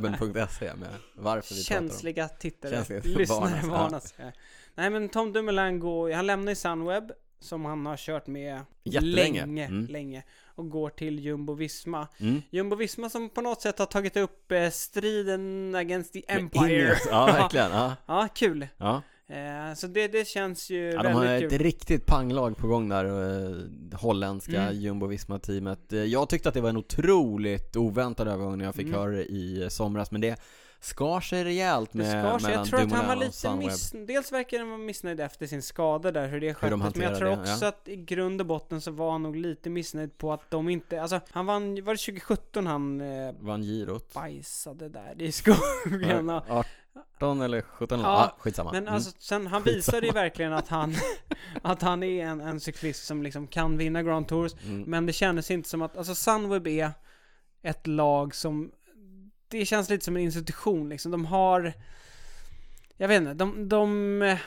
cykelwebben.se med varför vi pratar om
Känsliga tittare,
Känsliga [laughs]
[laughs] lyssnare
varnas, ja.
varnas. Ja. Nej men Tom Dumoulin går, han lämnar ju Sunweb, som han har kört med
Jättelänge.
länge,
Mm.
länge, och går till Jumbo Visma.
Mm.
Jumbo Visma som på något sätt har tagit upp eh, striden against the
Med
Empire. [laughs]
Ineos. Ja, verkligen. Ja.
ja, kul.
Ja.
Eh, så det, det känns ju
Ja, de har
väldigt
ett
kul.
riktigt panglag på gång där, eh, det holländska
Mm.
jumbo-visma-teamet. Eh, Jag tyckte att det var en otroligt oväntad övergång när jag fick
Mm.
höra det i somras, men det skar sig rejält
Det
med,
skar sig.
mellan
Jag tror att han
Dumoulin
var
och
lite
Sunweb.
miss... Dels verkar han vara missnöjd efter sin skada där, hur det sköttes. Men jag
hanterar
tror
det,
också
ja.
att i grund och botten så var han nog lite missnöjd på att de inte... Alltså, han vann... Var det 2017 han eh,
Vann girot.
bajsade där i skogen? och-
18 eller 17 eller
Ja,
ah, skitsamma.
Men
Mm.
alltså, sen, han visade ju verkligen att han, [laughs] att han är en, en cyklist som liksom kan vinna Grand Tours.
Mm.
Men det kändes inte som att, alltså Sunweb är ett lag som, det känns lite som en institution liksom. De har, jag vet inte, de, de, eh,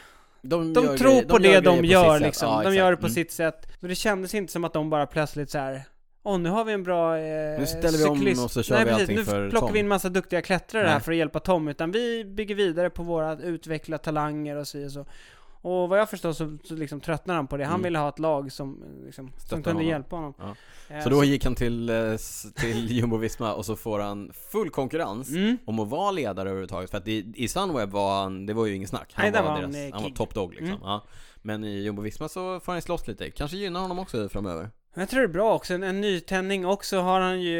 de
gör
tror
grejer-
på
gör
det
grejer
de
på sitt
gör
sätt.
liksom.
Ja,
de
exakt.
gör det på
Mm.
sitt sätt. Så det kändes inte som att de bara plötsligt så här. Åh, nu har vi en bra eh,
Nu ställer vi om
cyklist.
och så kör
Nej,
vi
precis.
allting
nu
för
plockar
Tom."
vi in massa duktiga klättrare här
Nej.
för att hjälpa Tom. Utan vi bygger vidare på våra utveckla talanger och så och så. Och vad jag förstår så, så liksom tröttnade han på det. Han
Mm.
ville ha ett lag som, eh, liksom, som
Stöttar
kunde
honom.
hjälpa honom.
Ja.
Eh,
Så då gick han till, eh, s- till Jumbo-Visma och så får han full konkurrens
Mm.
om att vara ledare överhuvudtaget. För att i, i Sunweb var han, det var ju ingen snack. Han
Nej, där
var,
var han,
deras,
eh,
han var
king.
top dog liksom.
Mm.
Ja. Men i Jumbo-Visma så får han slåss lite. Kanske gynnar honom också framöver.
Men jag tror det är bra också. En, en nytändning också har han ju...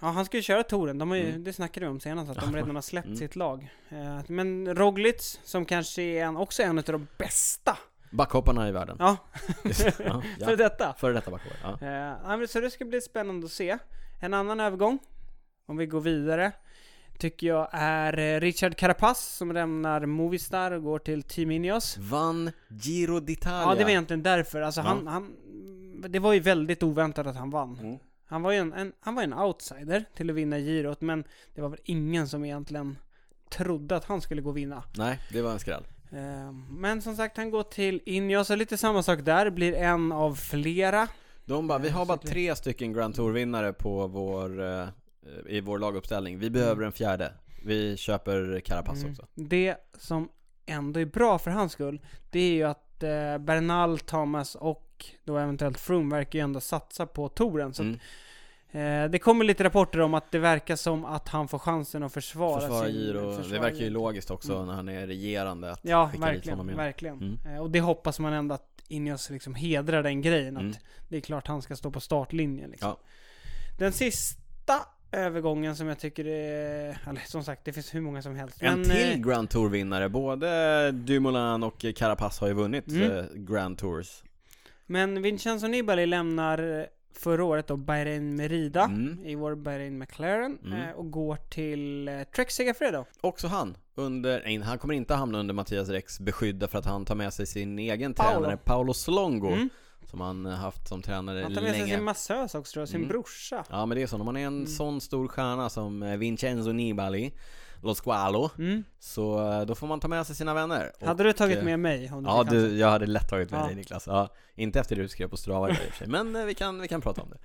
Ja, han ska ju köra touren. De har ju, Det snackade vi om senast, att de redan har släppt
Mm.
sitt lag. Eh, Men Roglic, som kanske är en, också en av de bästa.
Backhopparna i världen.
Ja,
[laughs] ja, ja.
[laughs] för detta.
Före detta backhoppare. Ja.
Eh, ja, men så det ska bli spännande att se. En annan övergång, om vi går vidare, tycker jag är eh, Richard Carapaz som lämnar Movistar och går till Team Ineos.
Vann Giro d'Italia.
Ja, det var egentligen därför. Alltså,
Ja.
han, han, det var ju väldigt oväntat att han vann.
Mm.
Han var ju en, en, han var en outsider till att vinna girot, men det var väl ingen som egentligen trodde att han skulle gå och vinna.
Nej, det var en skräll.
Eh, Men som sagt, han går till Ineos och lite samma sak där, blir en av flera.
De bara, vi har bara tre stycken Grand Tour-vinnare på vår, eh, i vår laguppställning. Vi
Mm.
behöver en fjärde. Vi köper Carapaz också.
Det som ändå är bra för hans skull, det är ju att eh, Bernal, Thomas och då eventuellt Froome verkar ju ändå satsa på touren. Så att,
Mm.
eh, det kommer lite rapporter om att det verkar som att han får chansen att försvara,
Försvara
sin...
Giro, det
försvara
verkar ju
Giro. Mm.
logiskt också när han är regerande att
Ja,
skicka dit honom
verkligen.
igen.
verkligen.
Mm.
Eh, och det hoppas man ändå att Ineos liksom hedrar den grejen. Att
Mm.
det är klart han ska stå på startlinjen liksom.
Ja.
Den sista övergången som jag tycker är... Eller som sagt, det finns hur många som helst.
En
Men, eh,
till Grand Tour-vinnare, både Dumoulin och Carapaz har ju vunnit
Mm.
eh, Grand Tours.
Men Vincenzo Nibali lämnar eh, förra året då Bahrain Merida
Mm.
i vår Bahrain McLaren
Mm.
eh, och går till eh, Trek Segafredo.
Också han, under, nej, han kommer inte hamna under Mattias Rex beskydda för att han tar med sig sin egen
Paolo.
tränare Paolo Slongo,
Mm.
som han eh, haft som tränare
Han tar med sig
länge.
sin massös också tror jag, sin
Mm.
brorsa.
Ja men det är så, när man är
Mm.
en sån stor stjärna som eh, Vincenzo Nibali, Lo Squalo,
Mm.
så eh, då får man ta med sig sina vänner. Och-
Hade du tagit
eh,
med mig om du
Ja,
fick chansen?
du, jag hade lätt tagit med
Ja.
dig Niklas. Ja, inte efter det du skrev på Strava idag i och för sig, men eh, vi kan, vi kan prata om det.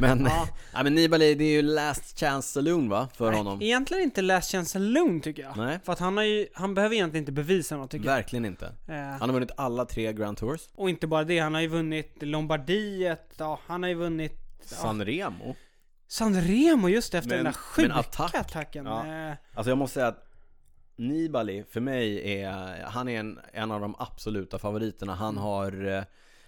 Men, [laughs] ja. men Nibali, det är ju last chance saloon va, för honom?
Nej, egentligen inte Last Chance Alone tycker jag.
Nej.
För att han har ju, han behöver egentligen inte bevisa något tycker
Verkligen inte.
jag. Eh,
Han har vunnit alla tre Grand Tours.
och inte bara det, han har ju vunnit Lombardiet, ja, han har ju vunnit
San Remo.
Sanremo just efter
Men-
den där sjuka
men attack.
attacken.
Ja.
Eh,
Alltså jag måste säga att Nibali för mig är, han är en, en av de absoluta favoriterna. Han
Mm.
har, eh,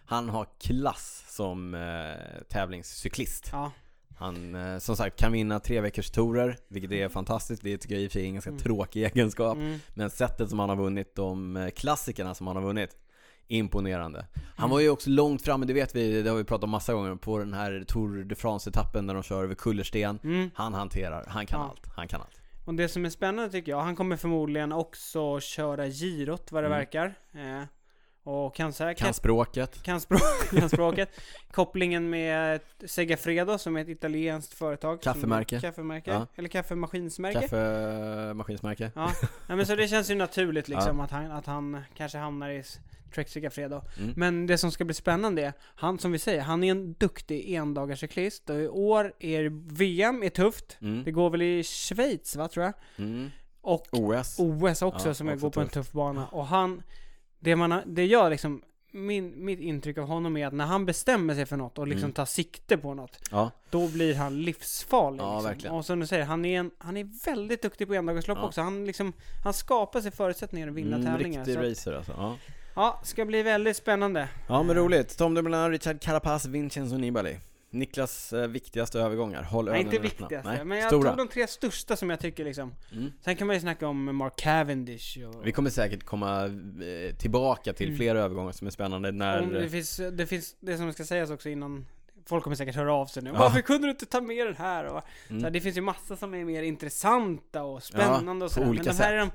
han har klass som eh, tävlingscyklist.
ja.
Han, eh, som sagt, kan vinna tre veckors tourer, vilket är fantastiskt. Det tycker jag i och för sig är en
Mm.
ganska tråkig egenskap. Men sättet som han har vunnit de eh, klassikerna som han har vunnit, imponerande.
Mm.
Han var ju också långt framme, det vet vi, det har vi pratat om massa gånger, på den här Tour de France-etappen när de kör över kullersten.
Mm.
Han hanterar, han kan
Ja.
allt, han kan allt.
Och det som är spännande tycker jag, han kommer förmodligen också köra girot vad det
Mm.
verkar. Eh, och kan säkert...
Kan
Kan,
språket.
språk, [laughs] kan språket. Kopplingen med Segafredo som är ett italienskt företag. som-
Kaffemärke.
Kaffemärke.
Ja.
Eller kaffemaskinsmärke.
Kaffemaskinsmärke.
Ja. Nej, men så det känns ju naturligt liksom att, han, att han kanske hamnar i s- Trek Segafredo.
Mm.
Men det som ska bli spännande är, han som vi säger, han är en duktig endagarcyklist och i år är VM är tufft. Det
Mm.
går väl i Schweiz va, tror jag?
Mm.
Och
OS.
OS också
Ja,
som jag
också
går på en tuff bana. Och han, det man, har- det jag liksom, min, mitt intryck av honom är att när han bestämmer sig för något och liksom
Mm.
tar sikte på något,
Ja.
då blir han livsfarlig.
Ja,
liksom.
verkligen.
Och som du säger, han är, en, han är väldigt duktig på endagarslopp
Ja.
också. Han, liksom, han skapar sig förutsättningar att vinna
Mm,
tävlingar.
riktig
Så, att-
racer alltså. Ja.
ja, ska bli väldigt spännande.
ja men roligt. Tom Dumoulin, Richard Carapaz, Vincenzo Nibali. Niklas eh, viktigaste övergångar. Håll
Nej,
ögonen
inte
öppna.
viktigaste,
Nej,
men jag
Stora.
tog de tre största som jag tycker liksom.
Mm.
Sen kan man ju snacka om Mark Cavendish och...
Vi kommer säkert komma eh, tillbaka till
Mm.
fler övergångar som är spännande när...
Om det, finns, det finns det som ska sägas också innan Folk kommer säkert höra av sig nu.
Ja.
Varför kunde du inte ta med den här? Och, så här,
Mm.
det finns ju massa som är mer intressanta och spännande
Ja,
och
på
sådär. Men
olika
de här är de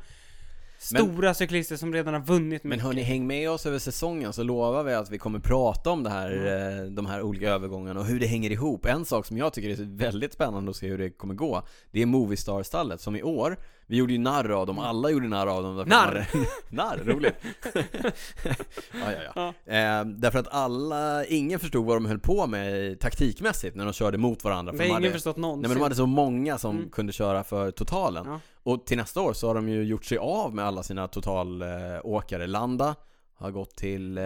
stora cyklister som redan har vunnit
Men
mycket.
hörni, häng med oss över säsongen så lovar vi att vi kommer prata om det här, eh, de här olika övergångarna och hur det hänger ihop. En sak som jag tycker är väldigt spännande att se hur det kommer gå, det är Moviestar-stallet som i år, vi gjorde ju narr av dem, alla gjorde narr av dem. därför
Narr!
att man- [laughs] narr,
[laughs]
roligt! ja, ja, ja. Eh, därför att alla, ingen förstod vad de höll på med taktikmässigt när de körde mot varandra.
det
för de
har
hade-
ingen förstått
Nej
någonsin.
men de hade så många som
Mm.
kunde köra för totalen.
Ja.
Och till nästa år så har de ju gjort sig av med alla sina totalåkare. Eh, Landa har gått till eh,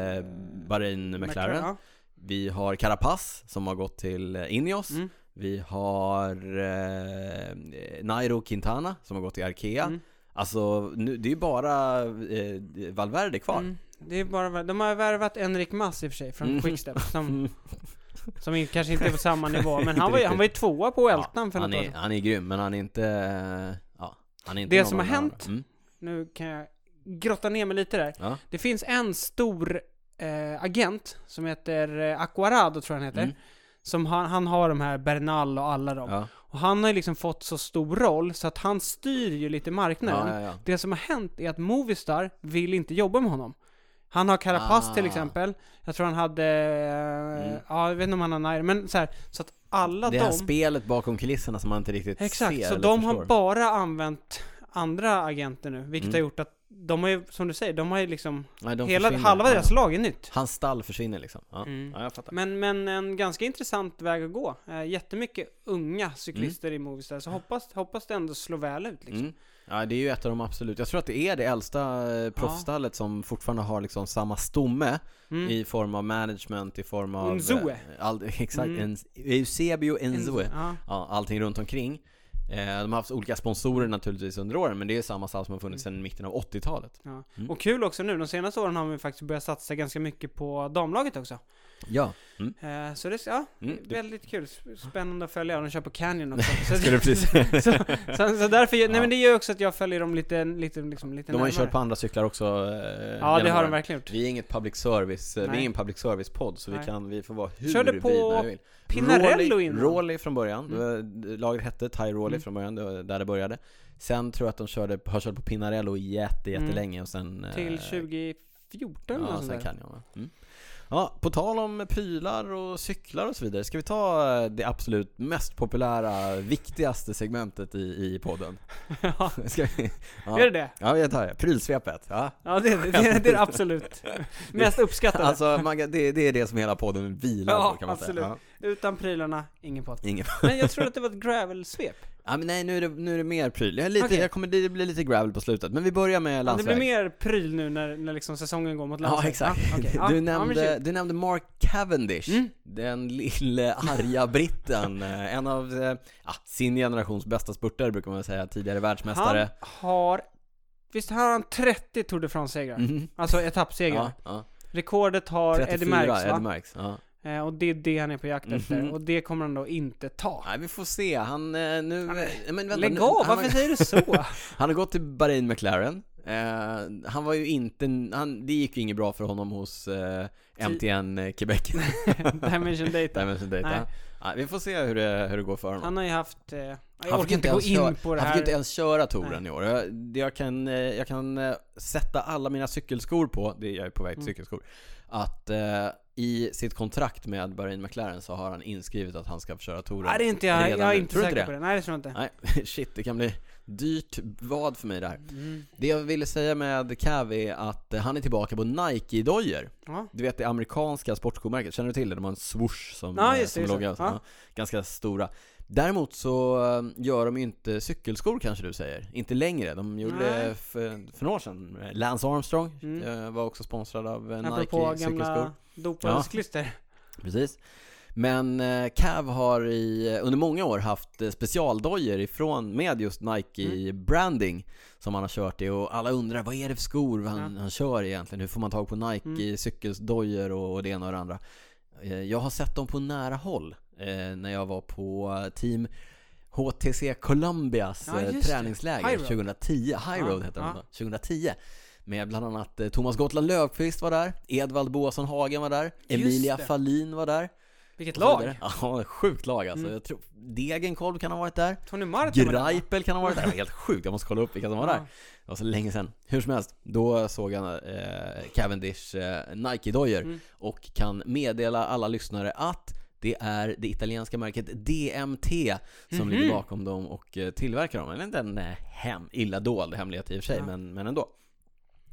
Bahrain McLaren.
Ja.
Vi har Carapaz som har gått till eh, Ineos.
Mm.
Vi har eh, Nairo Quintana som har gått till Arkea.
Mm.
Alltså, nu, det är ju bara eh, Valverde kvar.
Mm. Det är bara, de har värvat Enrik Mass i och för sig från
Mm.
Quickstep
[laughs]
som,
Mm.
som in- kanske inte är på samma nivå men han
Inte
var ju,
riktigt.
han var ju tvåa på
Ja,
Eltan för något
han,
år
är,
sedan.
han är grym, men han är inte... eh, Ja, han är inte
Det
någon
som
av
har
de andra.
hänt-
Mm.
Nu kan jag grotta ner mig lite där.
Ja.
Det finns en stor eh, agent som heter eh, Aquarado tror jag han heter.
Mm.
Som han, han har de här Bernal och alla dem.
Ja.
Och han har ju liksom fått så stor roll så att han styr ju lite marknaden.
Ja, ja, ja.
Det som har hänt är att Movistar vill inte jobba med honom. Han har Carapaz
Ah.
till exempel. Jag tror han hade... eh,
Mm.
Ja, jag vet inte om han har Nair, men så här, Så att alla
Det här
de...
spelet bakom kulisserna som man inte riktigt ser
Exakt, så
eller
de har
förstår.
bara använt andra agenter nu, vilket
Mm.
har gjort att de har ju, som du säger, de har ju liksom...
Nej, de
hela,
försvinner.
halva
Ja,
deras
ja.
lag är nytt.
Hans stall försvinner liksom. Ja,
Mm.
ja jag fattar.
Men, men en ganska intressant väg att gå. Eh, jättemycket unga cyklister i Movistar, så hoppas, hoppas det ändå slår väl ut liksom.
Mm. Ja, det är ju ett av de absolut. Jag tror att det är det äldsta eh, proffsstallet som fortfarande har liksom samma stomme
Mm.
i form av management, i form av...
Unzoe.
eh, All, [laughs] exakt,
Mm.
en, Eusebio Enzoe.
Ja.
Ja, allting runt omkring. Eh, de har haft olika sponsorer naturligtvis under åren, men det är samma stall som har
Mm.
funnits sedan mitten av 80-talet.
Ja.
Mm.
Och kul också nu, de senaste åren har vi faktiskt börjat satsa ganska mycket på damlaget också.
Ja. Mm.
Eh, så det, ja,
Mm, det-
väldigt kul. Spännande att följa. Och de kör på
[laughs]
Canyon också. Så,
Skulle
så,
precis.
[laughs] så,
[laughs]
så därför, nej
Ja.
men det gör ju också att jag följer dem lite, lite, liksom, lite
De har ju
närmare.
kört på andra cyklar också. eh,
Ja, det har de verkligen gjort.
Vi är inget public service, eh, vi
Nej.
är en public service-podd så vi
Nej.
kan, vi får vara hur
Körde på
vridna vi vill.
Pinarello
Rawley-
innan.
Rawley från början, Det var- laget hette Ty Rawley
Mm.
från början, det var där det började. Sen tror jag att de körde, har kört på Pinarello jätte,
Mm.
jättelänge och sen... eh,
Till 2014 eller
Ja, sen
något sånt där.
kan jag. va? Mm. Ja, på tal om prylar och cyklar och så vidare, ska vi ta eh, det absolut mest populära, viktigaste segmentet i, i podden? [laughs]
[laughs] ja,
Ska vi?
är
Ja,
det det?
ja, jag tar det. Prylsvepet. Ja.
Ja, det, det, det, det är
[laughs]
det absolut mest uppskattade.
Alltså, man, kan- det, det är det som hela podden vilar
Ja,
på kan man
absolut.
säga.
Utan prylarna, ingen podd.
Ja, ingen.
Men jag trodde att det var ett gravelsvep.
Ja, men nej, nu är det, nu är det mer pryl. Jag, är lite,
Okej.
jag kommer, det blir lite gravel på slutet, men vi börjar med
Ja, Det
landsväg.
blir mer pryl nu när, när liksom säsongen går mot
Ja,
landsväg.
exakt. [laughs]
okej.
du,
Ja, ja, men
nämnde,
shit.
du nämnde Mark Cavendish,
Mm.
den lille arga [laughs] britten. eh, en av eh, ja, sin generations bästa spurtare brukar man säga, tidigare
Han
världsmästare.
har... Visst har han 30 Tour de France-segrar?
Mhm.
Alltså etappsegrar.
Ja, ja.
Rekordet har Eddie
34,
Merckx va?
Eddie Merckx. Ja.
Eh, och det är det han är på jakt efter.
Mhm.
Och det kommer han då inte ta.
Nej, vi får se. Han, eh, nu... eh, Men vänta, nu-
Lägg
han
av,
har-
varför säger du
[laughs]
så?
Han har gått till Bahrain McLaren. Eh, han var ju inte, han, det gick ju inget bra för honom hos eh, MTN eh, Quebec.
Dimension Data.
Dimension Data.
Nej.
Ja, vi får se hur det, hur det går för honom.
Han har ju haft... Eh, jag
Han
orkar inte gå
ens
in
köra-
på det
Han fick ju inte
här.
ens köra touren i år. Jag, det jag, kan, eh, jag kan eh, sätta alla mina cykelskor på, det jag är på väg
Mm.
till cykelskor, att eh, i sitt kontrakt med Bahrain McLaren så har han inskrivet att han ska få köra touren.
Nej, det är inte jag.
redan
Jag är
nu.
inte
Tror du
säker
det?
på det. Nej, det tror jag inte.
Nej, [laughs] shit, det kan bli dyrt vad för mig det här.
Mm.
Det jag ville säga med Cavi är att eh, han är tillbaka på Nike-dojor.
Ja.
Du vet det amerikanska sportskomärket, känner du till det? De har en swoosh som,
Ja,
eh,
just det,
som
just
logga.
det. Ja.
Ja, ganska stora. Däremot så eh, gör de ju inte cykelskor kanske du säger. Inte längre. De gjorde
Nej.
eh, för, för några år sedan. eh, Lance Armstrong
Mm.
eh, var också sponsrad av eh,
Apropå
Nike cykelskor.
gamla dopades klister.
Precis. Men eh, Cav har i, under många år haft eh, specialdojor ifrån med just Nike
Mm.
branding som han har kört i och alla undrar vad är det för skor han, han kör egentligen? Hur får man tag på Nike
Mm.
cykeldojor och, och det ena och det andra? Eh, jag har sett dem på nära håll eh, när jag var på eh, team HTC Columbias
Ja,
eh,
just det.
träningsläger
High Road.
2010, High
Ja,
Road hette den
ja.
då, 2010 med bland annat eh, Thomas Gotland Löfqvist var där, Edvald Boasson Hagen var där, Emilia
det.
Fahlin var där
Vilket
och så
lag! Mm.
vidare. Ja, sjukt lag alltså. Jag tror Degenkolb kan ha varit där.
Tony Martin var där, va?
Greipel kan ha varit där. Det var helt sjukt, jag måste kolla upp vilka som var
Ja.
där. Det var så länge sedan. Hur som helst, då såg jag eh, Cavendish eh, Nike-dojor
Mm.
och kan meddela alla lyssnare att det är det italienska märket DMT som
Mhm.
ligger bakom dem och eh, tillverkar dem. Det är inte en eh, hem, illa dold hemlighet i och för sig,
Ja.
men, men ändå.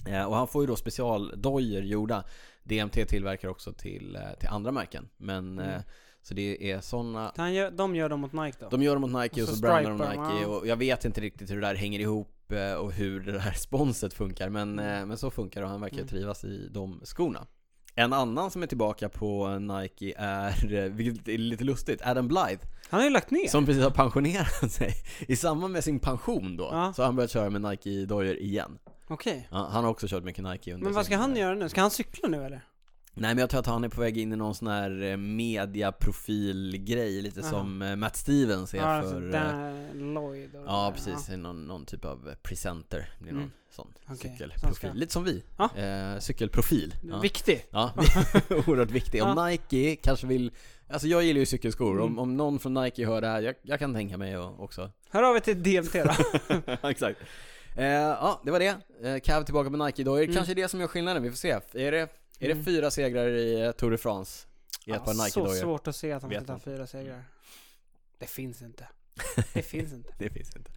Eh, Och han får ju då specialdojor gjorda. DMT tillverkar också till, eh, till andra märken. Men,
Mm.
eh, Så det är sådana
Han gör, de gör dem mot Nike då?
de gör dem mot Nike och
Och
så,
så
brandar de
stripar de,
Nike
ja.
och jag vet inte riktigt hur det där hänger ihop eh, och hur det här [laughs] sponset funkar. Men, eh, men så funkar det och han verkar
Mm.
trivas i de skorna. En annan som är tillbaka på Nike är, eh, [laughs] vilket är lite lustigt, Adam Blythe.
Han har ju lagt ner.
Som precis har pensionerat [laughs] sig. I samband med sin pension då,
Ja.
så har han börjat köra med Nike-dojor igen.
Okej.
Ja, han har också kört mycket Nike under
Men vad
sin-
ska han göra nu? Ska han cykla nu eller?
Nej men jag tror att han är på väg in i någon sån här eh, mediaprofilgrej, lite
Aha.
som eh, Matt Stevens är
Ja,
för...
alltså
eh,
Dan Lloyd och
Ja
det där.
precis, någon, någon typ av eh, presenter, det är någon
Mm.
sån
Okej, som ska-
cykelprofil. Lite som vi,
Ja.
eh, cykelprofil.
Ja.
Ja.
Viktig. [laughs]
Ja, [laughs] det är oerhört viktigt. Om
Ja.
Nike kanske vill, alltså jag gillar ju cykelskor,
Mm.
om, om någon från Nike hör det här, jag, jag kan tänka mig att
[laughs]
också [laughs]
Hör av er till DMT då.
Exakt. Eh, ja, det var det. Eh, Cav tillbaka med nike dojor Kanske det som gör skillnaden, vi får se. Är det, är det
Mm.
fyra segrar i eh, Tour de France i ett
Ja,
par
Alltså, så
Nike-dojor?
svårt att se att han
Vet
ska ta
inte.
fyra segrar. Det finns inte. Det finns inte.
Det finns inte.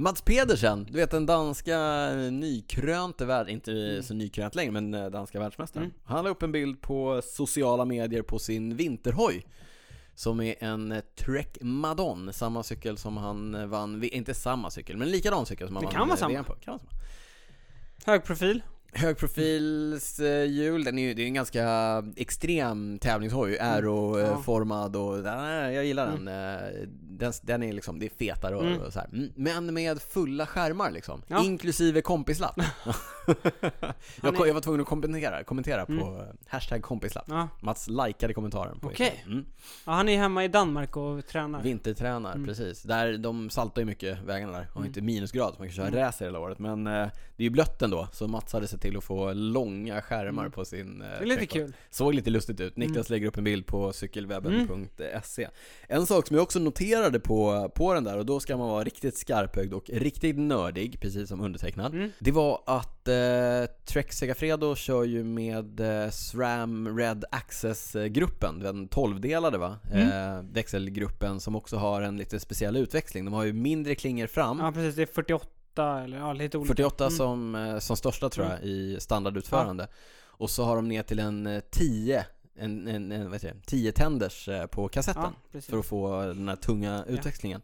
Mats Pedersen, du vet den danska eh, nykrönte värld, inte så nykrönt längre, men eh, danska världsmästaren.
Mm.
Han la upp en bild på sociala medier på sin vinterhoj. Som är en eh, Trek Madon, samma cykel som han eh, vann, vi- inte samma cykel, men likadan cykel som han
Det
vann
kan vara
eh,
samma.
VM på. Kan vara samma.
Hög profil.
Högprofilshjul, den är ju det är en ganska extrem tävlingshoj,
Mm. Ja.
aeroformad och nej, jag gillar den. Eh, Den, den är liksom, det är feta rör
Mm.
och så här. Mm, Men med fulla skärmar liksom,
Ja.
inklusive
[laughs]
kompislapp. jag,
är-
ko- jag var tvungen att kommentera, kommentera på eh, hashtag kompislapp.
Ja.
Mats likade kommentaren på
Okej.
Instagram. mm.
ja, han är hemma i Danmark och tränar.
Vintertränar,
Mm.
precis. Där, de saltar ju mycket vägarna där. Har inte minusgrad så man kan köra
Mm.
racer hela året. Men eh, det är ju blött ändå. Så Mats hade sett till att få långa skärmar på sin eh,
Mm. Det är lite
trädgård.
kul.
Såg lite lustigt ut. Niklas lägger upp en bild på cykelwebben.se. En sak som jag också noterade på, på den där, och då ska man vara riktigt skarpögd och riktigt nördig, precis som undertecknad. Det var att eh, Trek Segafredo kör ju med eh, SRAM Red Access-gruppen, den 12-delade va? Eh, växelgruppen som också har en lite speciell utväxling. De har ju mindre klingor fram.
Ja precis, det är 48 eller ja, lite olika.
48 som, eh, som största tror jag
Mm.
i standardutförande. Och så har de ner till en eh, 10, en, en, en, vad heter det, 10 tänders eh, på kassetten.
Ja, precis.
För att få den här tunga utväxlingen.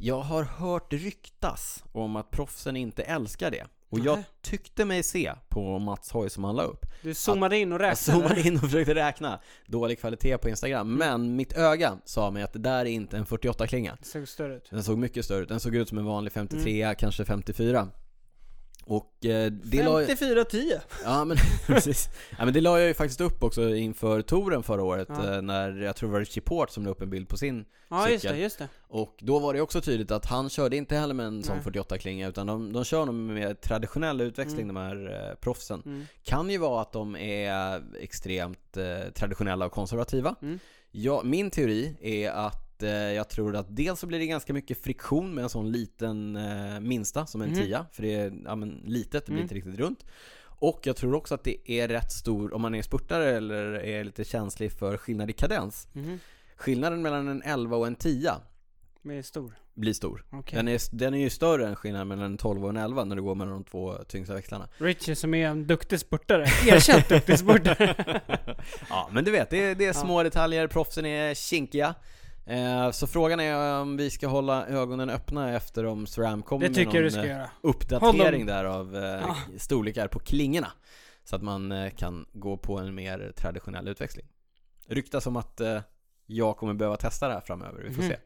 Jag har hört ryktas om att proffsen inte älskar det. Och jag
Nej.
tyckte mig se på Mats Hoj som han la upp.
Du zoomade in och
Jag
räknade.
zoomade in och försökte räkna. Dålig kvalitet på
Mm.
Instagram. Men mitt öga sa mig att det där är inte en 48-klinga.
Det såg större ut.
Den såg mycket större ut. Den såg ut som en vanlig 53
Mm.
kanske 54. Och eh, det la jag,
54-10.
[laughs] ja, men, [laughs] precis. Ja, men det la jag ju faktiskt upp också inför touren förra året
Ja.
eh, när jag tror det var Richie Port som la upp en bild på sin
Ja just det,
Cykel.
just det.
och då var det också tydligt att han körde inte heller med en sån
Nej.
48-klinga utan de, de kör nog med traditionell utväxling de här eh, proffsen.
Mm.
Kan ju vara att de är extremt eh, traditionella och konservativa.
Mm.
Ja, min teori är att eh, jag tror att dels så blir det ganska mycket friktion med en sån liten eh, minsta som en
Mhm.
tia. För det är ja, men, litet, det blir
Mm.
inte riktigt runt. Och jag tror också att det är rätt stor, om man är spurtare eller är lite känslig för skillnad i kadens.
Mhm.
Skillnaden mellan en 11 och en 10
Men det är stor.
blir stor.
Okej.
Den, är, den är ju större än skillnaden mellan en 12 och en 11 när du går mellan de två tyngsta växlarna.
Richie som är en duktig spurtare. [laughs] Erkänt duktig spurtare.
[laughs] ja, men du vet, det är, det är små detaljer, proffsen är kinkiga. Eh, så frågan är om vi ska hålla ögonen öppna efter om SRAM kommer
Det tycker jag
med
du
någon
ska
eh,
göra.
uppdatering där av eh,
Ja.
storlekar på klingorna. Så att man eh, kan gå på en mer traditionell utväxling. Ryktas om att eh, jag kommer behöva testa det här framöver, vi får
Mhm.
se.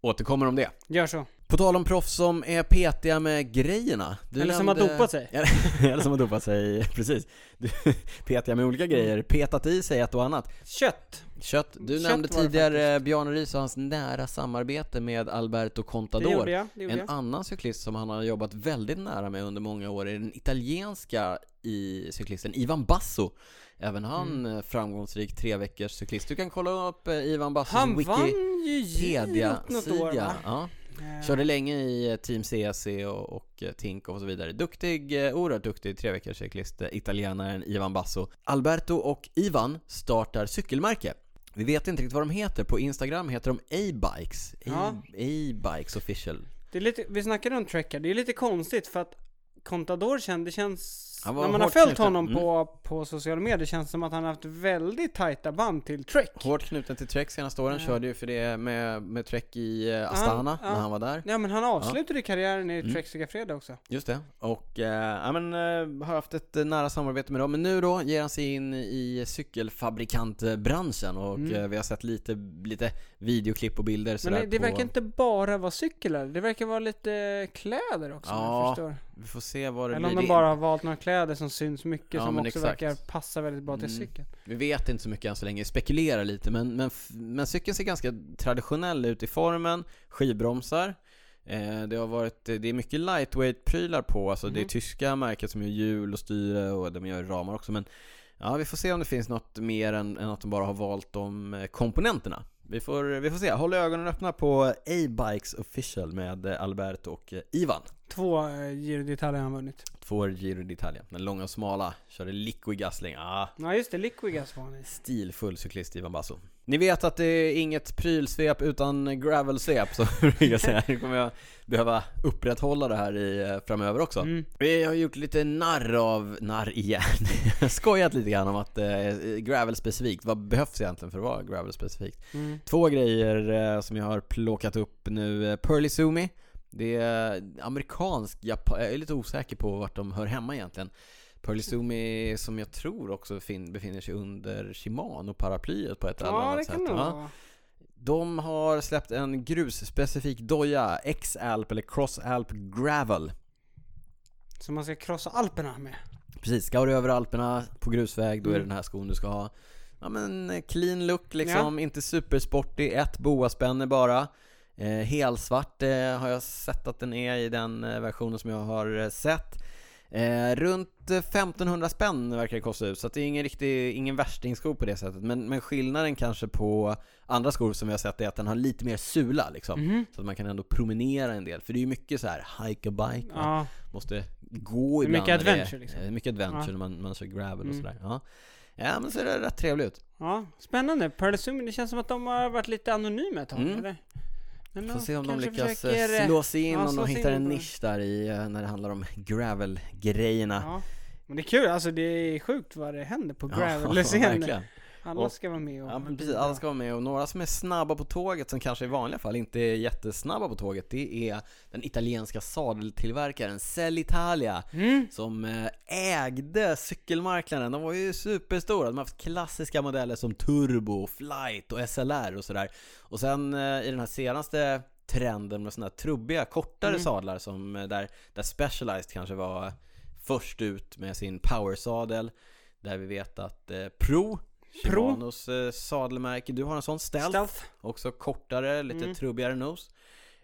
Återkommer om det.
Gör så.
På tal om proffs som är petiga med grejerna. Du
Eller som har dopat sig.
[laughs] Eller som har dopat sig, precis. Du, [laughs] petiga med olika grejer, petat i sig ett och annat.
Kött.
Kött, du
Kött
nämnde
var det
tidigare eh, Bjarne Riis och hans nära samarbete med Alberto
Det gjorde
Contador.
jag. Det gjorde
En
jag.
annan cyklist som han har jobbat väldigt nära med under många år är den italienska i cyklisten Ivan Basso. Även han
Mm.
eh, framgångsrik treveckors cyklist. Du kan kolla upp eh, Ivan Bassos
Han
wiki.
vann ju girot något år
Pedia-sida.
va?
Ja.
Eh,
Körde länge i eh, Team CSC och, och eh, Tinkoff och så vidare. Duktig, eh, oerhört duktig treveckorscyklist, eh, italienaren Ivan Basso. Alberto och Ivan startar cykelmärke. Vi vet inte riktigt vad de heter. På Instagram heter de A-Bikes. A-
Ja.
A-Bikes official.
Det är lite, vi snackade om Trekker, det är lite konstigt för att Contador känns, det känns
Han var
När man har
hårt
följt
knuten.
honom
Mm.
på, på sociala medier känns det som att han har haft väldigt tajta band till Trek.
Hårt knuten till Trek senaste åren,
Ja.
körde ju för det med, med Trek i eh, Astana
ja.
när han var där.
Ja men han avslutade karriären i
Mm.
Trexiga Fredag också.
Just det. Och eh, ja, men, eh, har haft ett eh, nära samarbete med dem. Men nu då ger han sig in i cykelfabrikantbranschen och
Mm.
eh, vi har sett lite, lite videoklipp och bilder
Men
sådär
det, det
på...
verkar inte bara vara cyklar, det verkar vara lite kläder också om jag
Ja,
förstår.
Vi får se vad det
Eller om
blir.
de bara har valt några kläder som syns mycket
Ja,
som
men
också
exakt.
verkar passa väldigt bra till
Mm.
cykeln.
Vi vet inte så mycket än så länge, spekulerar lite men, men, f- men cykeln ser ganska traditionell ut i formen, skivbromsar eh, Det har varit, eh, det är mycket lightweight-prylar på, alltså det är
Mhm.
tyska märken som gör hjul och styre och de gör ramar också men Ja, vi får se om det finns något mer än, än att de bara har valt de eh, komponenterna Vi får, vi får se, håll ögonen öppna på A-Bikes official med eh, Albert och eh, Ivan
Två eh, Giro d'Italia har han vunnit.
Två Giro d'Italia, den långa och smala, körde liquid gasling, ah
Ja just det, Liquigas var han i.
Stilfull cyklist Ivan Basso. Ni vet att det är inget prylsvep utan gravelsvep så [laughs] brukar jag säga. Nu kommer jag behöva upprätthålla det här i, eh, framöver också.
Mm.
Vi har gjort lite narr av, narr igen, [laughs] skojat lite grann om att eh, gravel specifikt, vad behövs egentligen för att vara gravel specifikt?
Mm.
Två grejer eh, som jag har plockat upp nu, eh, Pearly Sumi, det är amerikansk, Japan, jag är lite osäker på vart de hör hemma egentligen. Pearly Sumi som jag tror också fin- befinner sig under Shimano-paraplyet på ett eller
Ja
annat
det
sätt.
kan det nog
Ja.
vara.
De har släppt en grusspecifik doja, X-Alp eller Cross-Alp Gravel.
Så man ska krossa Alperna med.
Precis, ska du över Alperna på grusväg då är det
Mm.
den här skon du ska ha. Ja men eh, clean look liksom, inte supersportig, ett boaspänne bara. Eh, helsvart eh, har jag sett att den är i den eh, versionen som jag har eh, sett. Eh, runt eh, 1500 spänn verkar det kosta ut, så att det är ingen riktig, ingen värstingsko på det sättet. Men, men skillnaden kanske på andra skor som vi har sett är att den har lite mer sula liksom.
Mhm.
Så att man kan ändå promenera en del, för det är ju mycket så här hike a bike. va?
Ja.
måste gå
Det är
ibland.
mycket
när
adventure, liksom.
eh, Mycket adventure
Ja.
när man, man kör gravel och
Mm.
sådär. Ja. ja, men så är det rätt trevligt ut.
ja, spännande. Pearl det känns som att de har varit lite anonyma ett tag
Mm.
eller? Men
Får se om de
kanske
lyckas eh,
försöker, eh,
slå sig in,
ja,
om
slå
de
sig
hittar
in
en
på det.
nisch där i, eh, när det handlar om gravel-grejerna.
Ja. Men det är kul, alltså det är sjukt vad det händer på gravel
[laughs] verkligen.
Alla
Och-
ska vara med och...
Ja, men precis, alla ska vara med och några som är snabba på tåget som kanske i vanliga fall inte är jättesnabba på tåget det är den italienska sadeltillverkaren Sellitalia
Mm.
som eh, ägde cykelmarknaden. De var ju superstora. De har haft klassiska modeller som Turbo, Flight och SLR och sådär. Och sen eh, i den här senaste trenden med sådana här trubbiga, kortare
Mm.
sadlar som eh, där, där Specialized kanske var först ut med sin powersadel. Där vi vet att eh, Pro,
Pro.
Shimanos eh, sadelmärke, du har en sån stealth.
Stealth.
Också kortare, lite
Mm.
trubbigare nos.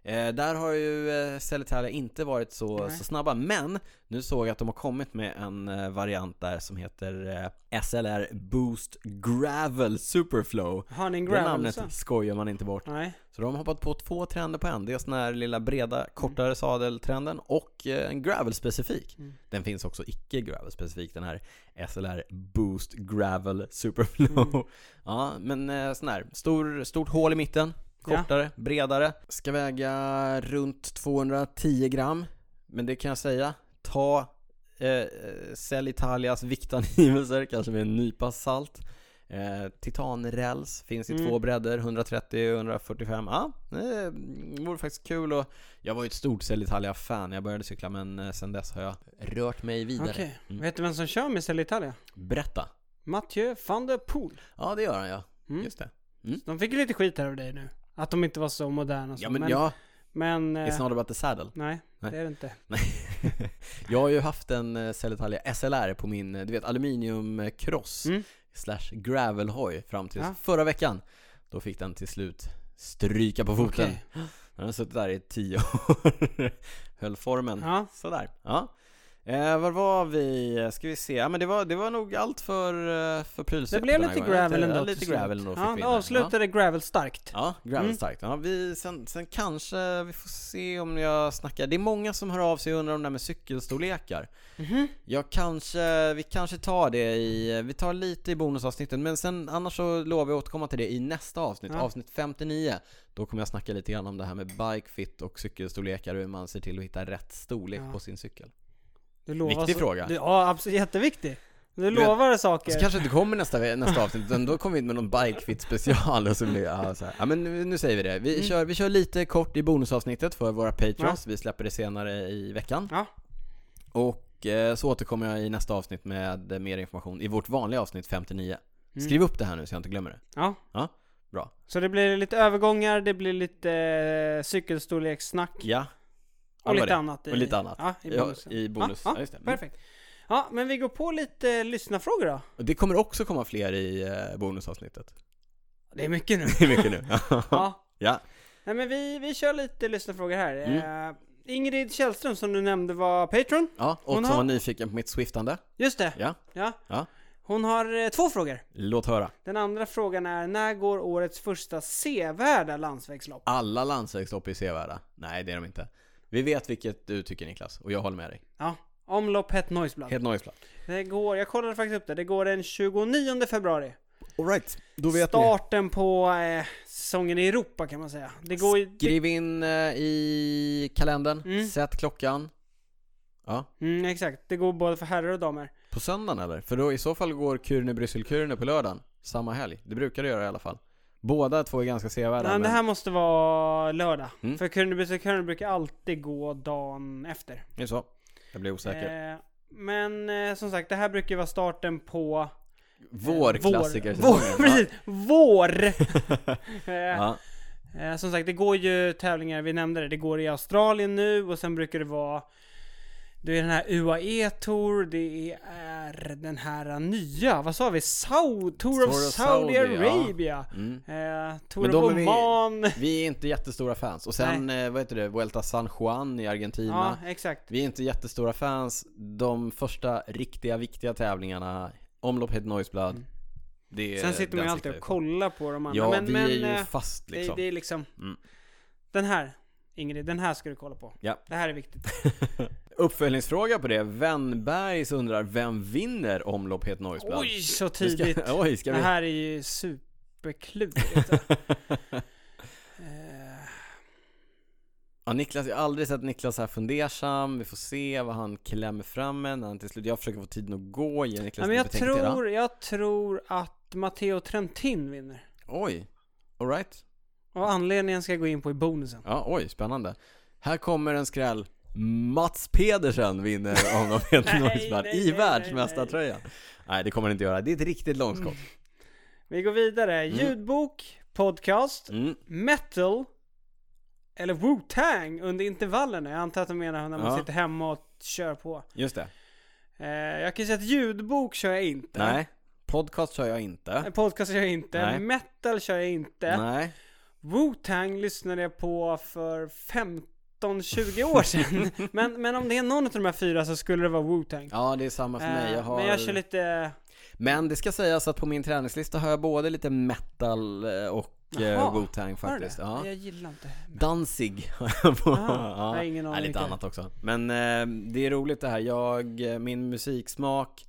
Eh, där har ju eh, Sellitalia inte varit så,
Nej.
så snabba, men nu såg jag att de har kommit med en eh, variant där som heter eh, SLR Boost Gravel Superflow.
Har ni en
Det
gravel
namnet
också?
skojar man inte bort.
Nej.
Så de har hoppat på två trender på en. Dels den här lilla
Mm.
breda, kortare sadeltrenden och eh, en gravel-specifik.
Mm.
Den finns också icke gravel-specifik, den här SLR Boost Gravel Superflow.
Mm.
[laughs] Ja, men eh, sån här, stor, stort hål i mitten,
Ja.
kortare, bredare. Ska väga runt 210 gram. Men det kan jag säga, ta eh, Cell Italias viktangivelser, kanske med en nypa salt. Eh, titanräls finns i
Mm.
två bredder, 130 och 145. Ja, det vore faktiskt kul och jag var ju ett stort Cell Italia-fan när jag började cykla men eh, sen dess har jag rört mig vidare.
Okej.
Mm.
Vet du vem som kör med Cell Italia?
Berätta.
Mathieu van der Poel.
Ja, det gör han ja.
Mm.
Just det.
De fick ju lite skit här av dig nu. Att de inte var så moderna och så.
Ja men, ja,
men eh,
it's not about the saddle.
nej,
Nej.
det är det inte.
jag har ju haft en eh, Cellitalia SLR på min, eh, du vet aluminiumkross
Mm. Ah.
slash gravelhoj fram till
Ja.
förra veckan. Då fick den till slut stryka på foten.
Okej.
Den har suttit där i tio [laughs] år. Höll formen.
Ja.
Sådär. Ja. Eh, var var vi? Ska vi se. Ja men det var, det var nog allt för, eh, för
Det
prylsvepet
blev
den här
lite
gången.
gravel ändå.
Ja,
till
lite
slut.
gravel ändå fick
Ja,
vi in
det
här. Ja.
avslutade gravel starkt.
Ja,
Mm.
Gravelstarkt. Ja, vi, sen, sen kanske vi får se om jag snackar. Det är många som hör av sig och undrar om det här med cykelstorlekar.
Mhm.
Jag kanske, vi kanske tar det i, vi tar lite i bonusavsnitten men sen annars så lovar jag återkomma till det i nästa avsnitt,
Ja.
avsnitt 59. Då kommer jag snacka lite grann om det här med bike fit och cykelstorlekar och hur man ser till att hitta rätt storlek
Ja.
på sin cykel.
Du lovar
Viktig
så-
fråga.
Du, ja, absolut. Jätteviktig. Du,
vet- Alltså,
lovar saker.
Så kanske det inte kommer nästa, ve- nästa avsnitt, utan då kommer vi in med någon bikefit special och så blir ja, så här. ja men nu, nu säger vi det. Vi,
Mm.
kör, vi kör lite kort i bonusavsnittet för våra patreons, vi släpper det senare i veckan.
Ja.
Och eh, så återkommer jag i nästa avsnitt med eh, mer information i vårt vanliga avsnitt 59.
Mm.
Skriv upp det här nu så jag inte glömmer det.
Ja.
Ja, bra.
Så det blir lite övergångar, det blir lite eh, cykelstorlekssnack
Ja. Ja,
och
det var
lite
det.
annat. i-
Och lite annat.
Ja, i
Ja,
bonusen.
i bonus.
Ja,
Ja, just det. Mm.
Perfekt. Ja, men vi går på lite eh, lyssnarfrågor då.
Och det kommer också komma fler i eh, bonusavsnittet.
Det är
[laughs]
mycket nu.
Det är mycket
[laughs]
nu.
ja.
ja.
Nej men vi, vi kör lite lyssnarfrågor här.
Mm.
Eh, Ingrid Källström som du nämnde var Patreon.
ja. Och
Hon
som
har-
var nyfiken på mitt swiftande.
Just det.
Ja.
Ja.
Ja.
Hon har eh, två frågor.
Låt höra.
Den andra frågan är, när går årets första sevärda landsvägslopp?
Alla landsvägslopp är sevärda. Nej, det är de inte. Vi vet vilket du tycker Niklas, och jag håller med dig.
Ja. Omlopp Het Noiseblad.
Helt noiseblad.
Det går, jag kollade faktiskt upp det, det går den 29 februari.
Alright, då
Starten på eh, säsongen i Europa kan man säga. Det går ju... det-
Skriv in eh, i kalendern,
Mm.
sätt klockan. Ja,
Mm, exakt, det går både för herrar och damer.
på söndagen eller? För då i så fall går Kurne Bryssel Kurne på lördagen. Samma helg. Det brukar det göra i alla fall. Båda två är ganska sevärda.
Men det här måste vara lördag.
Mm.
För Kronenbussen brukar alltid gå dagen efter.
Det är så. Jag blir osäker.
Eh, men eh, som sagt, det här brukar ju vara starten på...
vår klassiker.
klassiker. Vår, vår, [laughs] precis! Vår!
[laughs]
[laughs] eh,
Ja.
eh, som sagt, det går ju tävlingar, vi nämnde det, det går i Australien nu och sen brukar det vara... Det är den här UAE Tour, det är den här nya, vad sa vi? Sau, Tour
Tour
of
of
Saudi
Saudi, ja.
Arabia!
Mm.
Eh,
Men
Tour
de
of
är vi-
Oman!
Vi är inte jättestora fans. Och sen, eh, vad heter det, Vuelta San Juan i Argentina.
Ja, exakt.
Vi är inte jättestora fans. De första riktiga, viktiga tävlingarna, Omlopp Head Noise Blood. Det är
Mm. Sen sitter man ju
den
alltid
siktar vi
och
på.
kollar på de andra.
Ja,
men,
vi
men,
är ju
eh,
fast liksom.
det, det är liksom...
Mm.
Den här, Ingrid, den här ska du kolla på.
Ja.
Det här är viktigt.
Uppföljningsfråga på det. Wennbergs undrar, vem vinner Omlopp Head Noise Blood?
Oj, så
Vi ska- [laughs]
tidigt.
Oj, ska
Det
vi?
här är ju superklurigt. alltså.
[laughs]
Eh,
Ja, Niklas, jag har aldrig sett Niklas så här fundersam. Vi får se vad han klämmer fram med när han till slut. Jag försöker få tiden att gå. Ge Niklas
Nej, men
lite
jag
betänketid, ja.
tror, jag tror att Matteo Trentin vinner.
Oj. Alright.
Och anledningen ska jag gå in på i bonusen.
Ja, oj, spännande. Här kommer en skräll. Mats Pedersen vinner om de heter
Nej,
Norrisblad
nej,
i
nej,
världsmästartröjan. Nej, det kommer det inte göra. Det är ett riktigt långskott.
Vi går vidare. Ljudbok, podcast,
Mm.
metal eller Wu-Tang under intervallerna. Jag antar att de menar när man
Ja.
sitter hemma och kör på.
Just det.
Eh, jag kan ju säga att ljudbok kör jag inte.
Nej. Podcast kör jag inte.
En Podcast kör jag inte.
Nej.
Metal kör jag inte.
Nej.
Wu-Tang lyssnade jag på för 15-20 år
[laughs]
sedan. men, men om det är någon av de här fyra så skulle det vara Wu-Tang.
Ja, det är samma för mig.
Eh,
Jag har...
Men jag kör lite...
Men det ska sägas att på min träningslista har jag både lite metal eh, och eh,
Jaha,
Wu-Tang
Hör du
faktiskt.
det?
Ja.
Jag gillar inte.
Danzig [laughs] har jag på.
Aha, Ah, jag
ja.
har ingen aning
ja, lite
vilka.
annat också. Men eh, det är roligt det här. Jag, eh, min musiksmak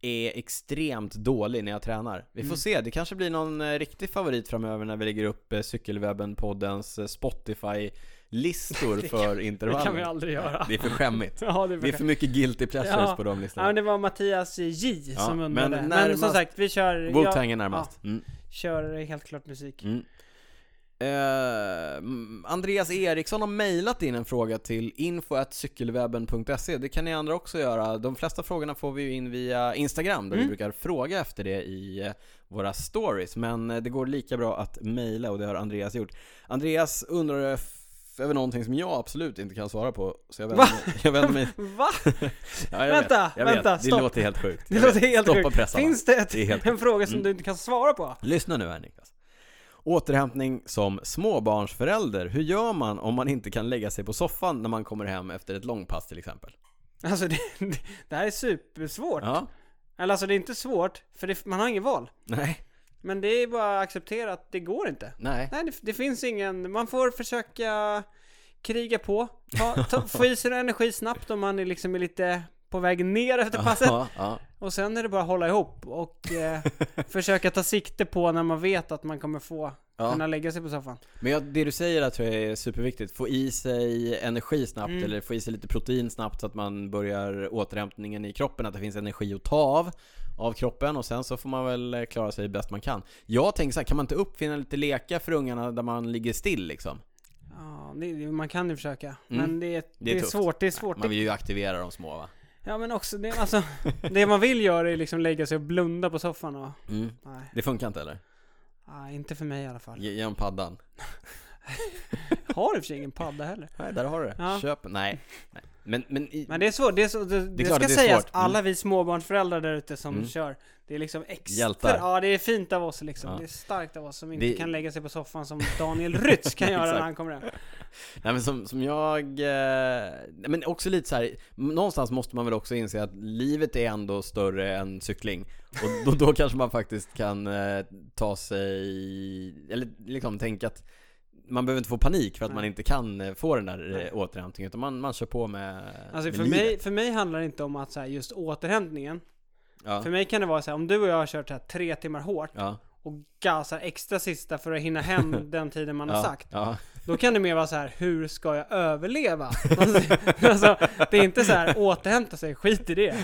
är extremt dålig när jag tränar. Vi får
Mm.
se, det kanske blir någon eh, riktig favorit framöver när vi lägger upp eh, Cykelwebben-poddens eh, Spotify-listor för intervallen.
[laughs] Det kan vi aldrig göra.
Det är för skämmigt.
Ja, [laughs] det är
Det är för mycket guilty pleasures
Ja.
på de
Ja, men
listorna.
det var Mattias J
Ja,
som
men
undrade. Men, som
närmast-
sagt, vi kör... jag
Wu-Tang är närmast. Mm.
Kör helt klart musik.
Mm. Eh, mm, Andreas Eriksson har mejlat in en fråga till info.cykelwebben.se Det kan ni andra också göra. De flesta frågorna får vi ju in via Instagram där
Mm.
vi brukar fråga efter det i eh, våra stories. Men eh, det går lika bra att mejla och det har Andreas gjort. Andreas undrar f- över någonting som jag absolut inte kan svara på. Så jag vänder
Va?
mig. Jag vänder
[laughs]
mig.
Va?
Ja, jag
Vänta,
vet, jag
vänta,
vet. Det
stopp.
låter helt sjukt.
Det
Jag
låter
vet.
helt
Stoppa
sjukt.
pressarna.
Finns det, ett,
Det är helt Mm.
en fråga som du inte kan svara på?
Lyssna nu här Niklas. Återhämtning som småbarnsförälder, hur gör man om man inte kan lägga sig på soffan när man kommer hem efter ett långpass till exempel?
Alltså det, det- det här är supersvårt.
Ja,
Eller alltså det är inte svårt, för det, man har ingen val.
nej,
Men det är bara att acceptera att det går inte.
nej.
Nej, det, det finns ingen... Man får
[laughs]
försöka kriga på. Ta, ta, få i sig energi snabbt om man är liksom är lite på väg ner efter passet.
Ja, ja.
Och sen är det bara att hålla ihop
[laughs]
och eh, försöka ta sikte på när man vet att man kommer få
Ja.
kunna lägga sig på soffan.
Men jag, det du säger där tror jag är superviktigt. Få i sig energi snabbt eller få i sig lite protein snabbt så att man börjar återhämtningen i kroppen, att det finns energi att ta av av kroppen och sen så får man väl eh, klara sig bäst man kan. Jag tänker så här, kan man inte uppfinna lite lekar för ungarna där man ligger still liksom?
Ja, det, det- man kan ju försöka.
Mm.
Men det, är- det, är
tufft.
svårt, det är svårt.
Man vill ju aktivera de små va?
Ja men också, det, alltså, det man vill göra är liksom lägga sig och blunda på soffan och...
Mm.
Nej,
Det funkar inte eller?
nej inte för mig i alla fall.
Ge, ge dem paddan.
Har i och för sig ingen padda heller.
Nej, där har du det.
Ja.
Köp. Nej. Nej. Men, men, i,
Men det är svårt, det, är så, det, det
klart
ska
att det är
sägas,
svårt. Mm.
alla vi småbarnsföräldrar där ute som
Mm.
kör, det är liksom extra...
Hjältar.
Ja, det är fint av oss liksom.
Ja.
Det är starkt av oss som inte
Det-
kan lägga sig på soffan som Daniel
[laughs]
Rytz kan göra när
Exakt.
han kommer hem.
Nej men som, som jag, eh, nej, men också lite så här. någonstans måste man väl också inse att livet är ändå större än cykling. Och då, då kanske man faktiskt kan eh, ta sig, eller liksom tänka att man behöver inte få panik för att
Nej.
man inte kan eh, få den där
Nej.
eh, återhämtningen utan man, man kör på med,
Alltså
med
för
livet.
mig, för mig handlar det inte om att så här, just återhämtningen.
Ja,
För mig kan det vara så här, om du och jag har kört så här, tre timmar hårt
ja,
och gasar extra sista för att
[laughs]
hinna hem den tiden man har
ja,
sagt.
Ja,
Då kan det mer vara så här, hur ska jag överleva? [laughs] alltså, det är inte så här, återhämta sig, skit i det.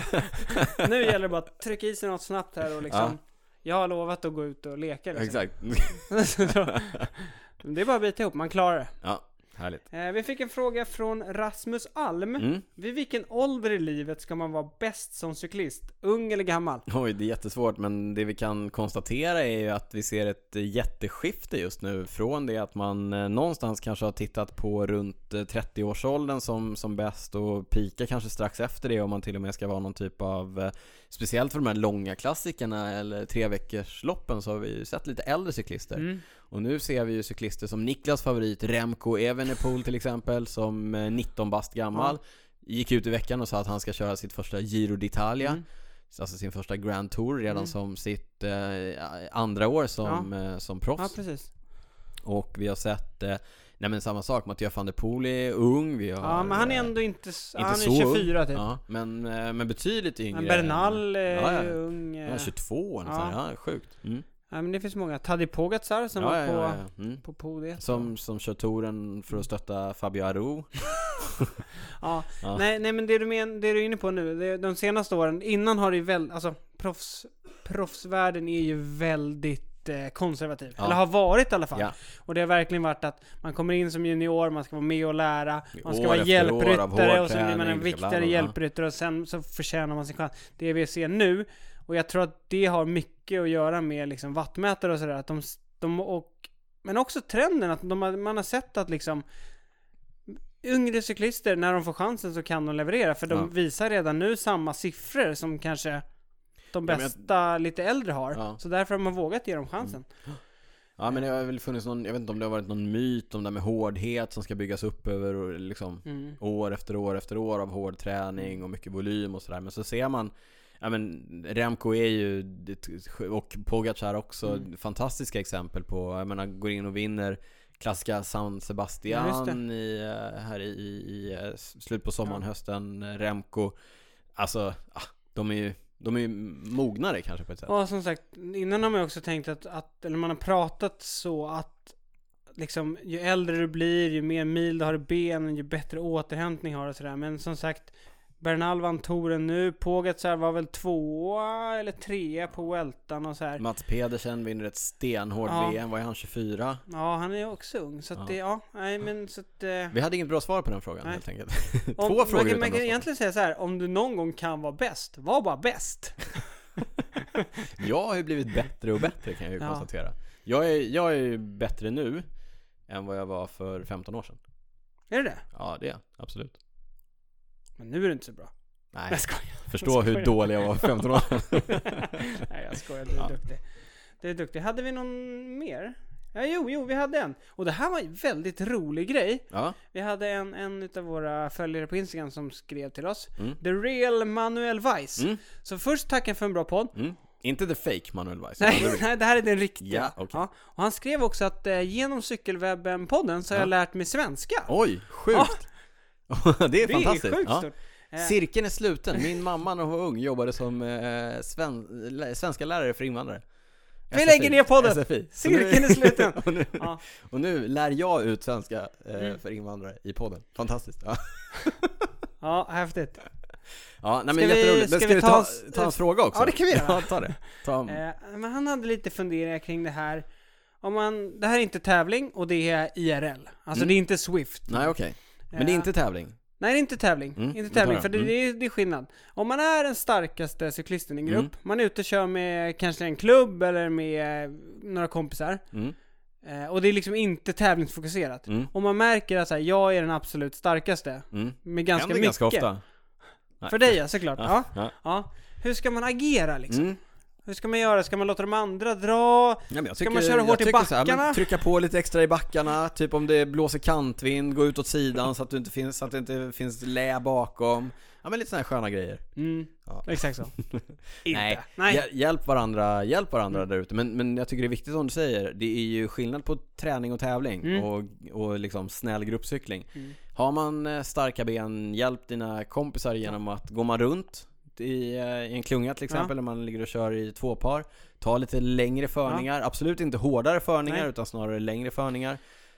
Nu gäller det bara att trycka i sig något snabbt här och liksom, jag har lovat att gå ut och leka liksom.
exakt.
[laughs] Så, Det är bara att bita ihop, man klarar det.
Ja, härligt.
Eh, vi fick en fråga från Rasmus Alm.
Mm.
Vid vilken ålder i livet ska man vara bäst som cyklist? Ung eller gammal?
[laughs] Oj, det är jättesvårt men det vi kan konstatera är ju att vi ser ett jätteskifte just nu från det att man eh, någonstans kanske har tittat på runt eh, 30-årsåldern som, som bäst och pika kanske strax efter det om man till och med ska vara någon typ av eh, Speciellt för de här långa klassikerna eller treveckorsloppen så har vi ju sett lite äldre cyklister och nu ser vi ju cyklister som Niklas favorit Remco Evenepoel till exempel som eh, 19 bast gammal Gick ut i veckan och sa att han ska köra sitt första Giro d'Italia
Mm.
Alltså sin första Grand Tour redan
Mm.
som sitt eh, andra år som, eh, som proffs
Ja, precis.
Och vi har sett, eh, nej men samma sak, Mattias van der Poel är ung vi har,
Ja, men han är
eh,
ändå inte, s-
inte
han
så
är
ung.
24 typ.
ja, men, eh, men betydligt yngre
Men Bernal är
Ja, ja.
ju ung. eh.
Ja, 22 eller
Ja.
ja. ja, sjukt mm.
Ja, men det finns många. Tadej Pogacar som
ja,
var
ja,
på,
ja, ja. Mm.
på podiet.
Som, som kör touren för att stötta Fabio Aru
Ja.
Ja.
Nej, nej, men det du, men, det du är inne på nu, det, de senaste åren, innan har det ju väldigt, alltså proffs, proffsvärlden är ju väldigt eh, konservativ.
Ja.
Eller har varit i alla fall.
Ja.
Och det har verkligen varit att man kommer in som junior, man ska vara med och lära, man ska
År
vara
efter år av hård
hjälpryttare och sen blir man
träning, bla, bla,
en
bla.
viktigare hjälpryttare och sen så förtjänar man sin chans. Det vi ser nu, och jag tror att det har mycket att göra med liksom vattmätare och sådär, att de, de och, men också trenden att de, har- man har sett att liksom Yngre cyklister, när de får chansen så kan de leverera för de
Ja.
visar redan nu samma siffror som kanske de
Ja, men jag-
bästa lite äldre har.
Ja.
Så därför har man vågat ge dem chansen.
Ja men det har väl funnits någon, jag vet inte om det har varit någon myt om det här med hårdhet som ska byggas upp över och liksom
Mm.
år efter år efter år av hård träning och mycket volym och sådär. Men så ser man, ja men Remco är ju, och Pogacar också,
Mm.
fantastiska exempel på, jag menar går in och vinner klassiska San
Ja,
Sebastian i, eh, här i, i, i eh, s- slut på sommaren,
Ja.
hösten, eh, Remco. Alltså, ah, de är ju, de är ju mognare kanske på ett sätt.
Ja, som sagt, innan har man ju också tänkt att, att, eller man har pratat så att liksom ju äldre du blir, ju mer mil du har i benen, ju bättre återhämtning har du och sådär. Men som sagt, Bernal vann touren nu, Pogacar var väl tvåa eller trea på Weltan och så här.
Mats Pedersen vinner ett stenhårt
Ja.
VM, var är han 24?
Ja, han är ju också ung, så att
Ja.
det, ja, nej men så att... Eh,
Vi hade inget bra svar på den frågan
Nej.
helt
[laughs]
enkelt.
om-
Två frågor
man, kan-
utan
man
bra
kan
svar.
egentligen säga så här, om du någon gång kan vara bäst, var
[laughs]
bara bäst.
Jag har ju blivit bättre och bättre kan jag ju
Ja.
konstatera. Jag är, jag är ju bättre nu än vad jag var för 15 år sedan.
[laughs] Är det det?
Ja, det är jag. Absolut.
Men nu är du inte så bra. [laughs]
Nej,
Jag skojar.
förstå hur
skojar.
dålig jag var för 15 år
[laughs]
sedan.
Nej jag skojar, du är
Ja.
duktig. Du är duktig. Hade vi någon mer? Ja, jo, jo, vi hade en. Och det här var en väldigt rolig grej.
Ja,
Vi hade en, en av våra följare på Instagram som skrev till oss.
Mm.
The real Manuel Weiss.
Mm.
Så först tacken för en bra podd.
mm. Inte the fake Manuel Weiss. utan
Nej,
the real.
nej, det här är den riktiga.
Ja, okej.
Och han skrev också att eh, genom Cykelwebben-podden så har
Ja.
jag lärt mig svenska.
Oj, sjukt! [laughs] det är
Ah. det är
fantastiskt.
sjukt
ja.
stort. Eh, Eh.
Cirkeln är sluten. Min mamma när hon var ung jobbade som eh, sven, lä- svenska lärare för invandrare.
Vi lägger ner podden.
SFI. Så
Cirkeln
nu-
är sluten.
[laughs] och, nu,
Ja.
och nu lär jag ut svenska eh,
Mm.
för invandrare i podden. Fantastiskt. Ja,
Ja, häftigt.
ja nej, men
Ska vi-
jätteroligt. Men
ska
ska,
vi
vi ta,
ta-
ta en fråga också?
Ja, det kan vi göra.
[laughs] Ja, ta det. Ta,
Eh, men han hade lite funderingar kring det här. Om man, det här är inte tävling och det är IRL. Alltså
Mm.
det är inte Swift.
Nej, okej. Men det är
Eh,
inte tävling.
Nej, det är inte tävling.
Mm,
inte
då
tävling,
tar jag.
för det,
Mm.
det, är, det är skillnad. Om man är den starkaste cyklisten i grupp,
Mm.
man är ute och kör med kanske en klubb eller med eh, några kompisar.
Mm,
Eh, och det är liksom inte tävlingsfokuserat.
mm,
Om man märker att så här, jag är den absolut starkaste,
mm.
med ganska
Händer
mycket.
ganska ofta. Nej.
För dig ja, såklart. Ja.
Ja,
Ja.
ja.
Hur ska man agera liksom?
Mm.
Hur ska man göra? Ska man låta de andra dra?
Ja, men jag
Ska
tycker,
man köra hårt
jag
i
tycker så här,
backarna?
men trycka på lite extra i backarna, typ om det blåser kantvind, gå ut åt sidan så att, du inte finns, så att det inte finns lä bakom. Ja men lite sådana här sköna grejer.
Mm,
Ja.
exakt så.
[laughs]
inte.
Nej.
Nej.
Hjäl- Hjälp varandra, hjälp varandra där ute. Men, men jag tycker det är viktigt som du säger, det är ju skillnad på träning och tävling
Mm.
och, och liksom snäll gruppcykling.
Mm.
Har man eh, starka ben, hjälp dina kompisar genom att gå man runt i, eh, i en klunga till exempel, när man ligger och kör i två par. Ta lite längre förningar, absolut inte hårdare förningar
Nej.
utan snarare längre förningar.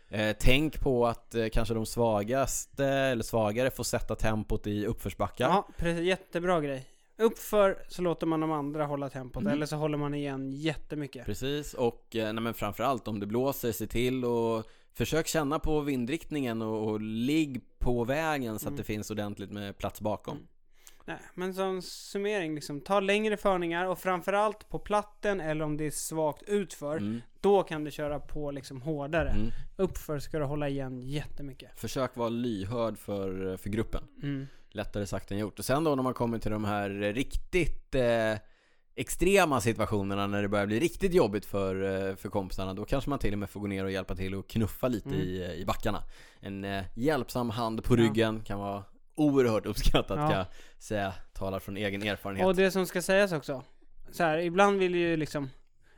Eh, tänk på att eh, kanske de svagaste eller svagare får sätta tempot i uppförsbackar.
Ja, precis. Jättebra grej. Uppför så låter man de andra hålla tempot,
Mm.
eller så håller man igen jättemycket.
Precis, och eh, nej, men framförallt om det blåser, se till och försök känna på vindriktningen och, och ligg på vägen så att
Mm.
det finns ordentligt med plats bakom.
Mm. Nej, men som summering, liksom, ta längre förningar och framförallt på platten eller om det är svagt utför,
Mm.
då kan du köra på liksom hårdare.
Mm.
Uppför ska du hålla igen jättemycket.
Försök vara lyhörd för, för gruppen.
Mm.
Lättare sagt än gjort. Och sen då när man kommer till de här riktigt eh, extrema situationerna när det börjar bli riktigt jobbigt för, eh, för kompisarna. Då kanske man till och med får gå ner och hjälpa till och knuffa lite
Mm.
i, i backarna. En eh, hjälpsam hand på
Ja.
ryggen kan vara oerhört uppskattat
Ja.
kan jag säga. Talar från egen erfarenhet.
Och det som ska sägas också, så här, ibland vill ju liksom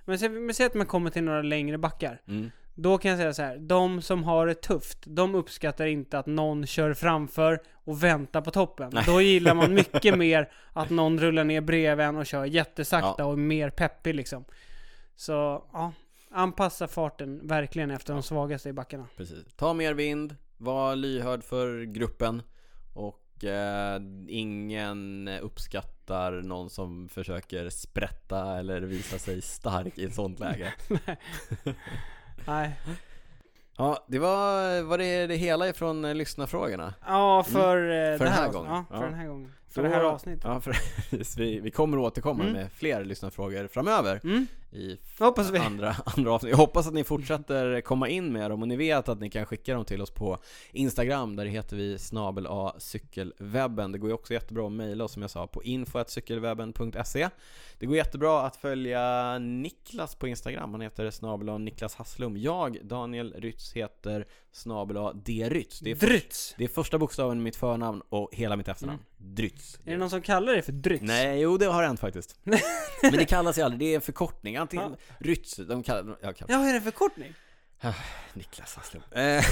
men se- men säg att man kommer till några längre backar.
Mm.
Då kan jag säga så här, de som har det tufft, de uppskattar inte att någon kör framför och väntar på toppen. Då gillar man
[laughs]
mycket mer att någon rullar ner bredvid en och kör jättesakta och är mer peppig liksom. Så, ja. Anpassa farten verkligen efter de svagaste i backarna.
Precis. Ta mer vind, var lyhörd för gruppen och eh, ingen uppskattar någon som försöker sprätta eller visa sig stark i ett sånt
[laughs]
läge.
Nej.
Ja, det var, var det, det hela ifrån eh, lyssnarfrågorna.
Ja, för, eh,
Mm. För den här
avsn-
gången.
Ja, för
Ja.
den här gången. För
Då-
det här avsnittet.
Ja, [laughs] precis. Vi, vi kommer återkomma
Mm.
med fler lyssnarfrågor framöver.
Mm,
I
det hoppas vi.
andra, [laughs] andra avsnitt. Jag hoppas att ni fortsätter komma in med dem och ni vet att ni kan skicka dem till oss på Instagram där det heter vi snabel a cykelwebben. Det går ju också jättebra att mejla oss som jag sa på info.cykelwebben.se Det går jättebra att följa Niklas på Instagram. Han heter snabel a Niklas Hasslum. Jag, Daniel Rytz, heter snabel a D Rytz. Det är,
Dryts!
det är första bokstaven i mitt förnamn och hela mitt efternamn.
Mm.
Drytz.
Är det någon som kallar det för dryts?
Nej, jo det har hänt faktiskt.
[laughs]
Men det kallas ju aldrig, det är en förkortning. Antingen
Ja.
Rytz, de kallar, jag kallar
Ja, vad är det en förkortning?
Niklas Hasslum. Eh,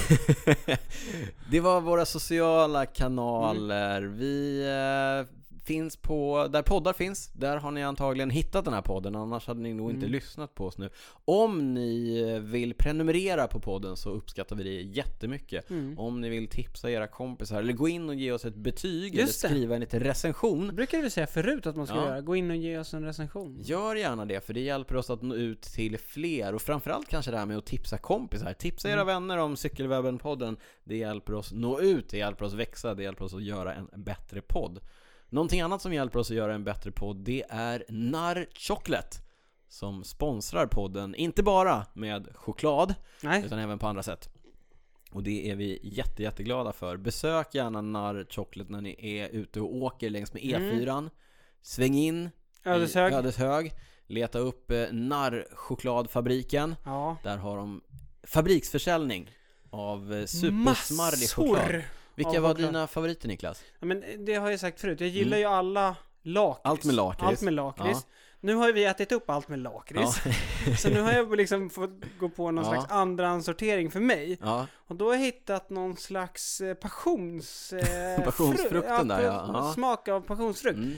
[laughs] det var våra sociala kanaler.
Mm.
Vi eh, finns på, där poddar finns, där har ni antagligen hittat den här podden, annars hade ni nog inte
Mm.
lyssnat på oss nu. Om ni eh, vill prenumerera på podden så uppskattar vi det jättemycket.
Mm.
Om ni vill tipsa era kompisar, eller gå in och ge oss ett betyg,
Just det.
eller skriva en liten recension.
Det brukade vi säga förut att man ska
Ja. Mm.
göra. Gå in och ge oss en recension.
Gör gärna det, för det hjälper oss att nå ut till fler och framförallt kanske det här med att tipsa kompisar. Tipsa era vänner om Cykelwebben-podden. Det hjälper oss nå ut, det hjälper oss växa, det hjälper oss att göra en bättre podd. Någonting annat som hjälper oss att göra en bättre podd, det är Narr Chocolate som sponsrar podden, inte bara med choklad,
Nej.
utan även på andra sätt. Och det är vi jätte, jätteglada för. Besök gärna Narr Chocolate när ni är ute och åker längs med E4. Sväng in,
Ödeshög.
i Ödeshög. Leta upp eh, Narrchokladfabriken.
Ja.
Där har de fabriksförsäljning av eh, supersmarrig choklad.
Massor!
Vilka
av
var
choklad.
dina favoriter Niklas?
eh, Ja, men det har jag sagt förut. Jag gillar ju alla lakrits.
Mm. Allt med lakrits.
Allt med lakrits. Nu har ju vi ätit upp allt med lakrits. [laughs] Så nu har jag liksom fått gå på någon
Ja.
slags andrahandssortering för mig.
[laughs] Ja,
Och då har jag hittat någon slags eh, passions...
[laughs]
eh,
Passionsfrukten
fru-
där, ja.
pa-
Ja.
Smak av passionsfrukt.
mm,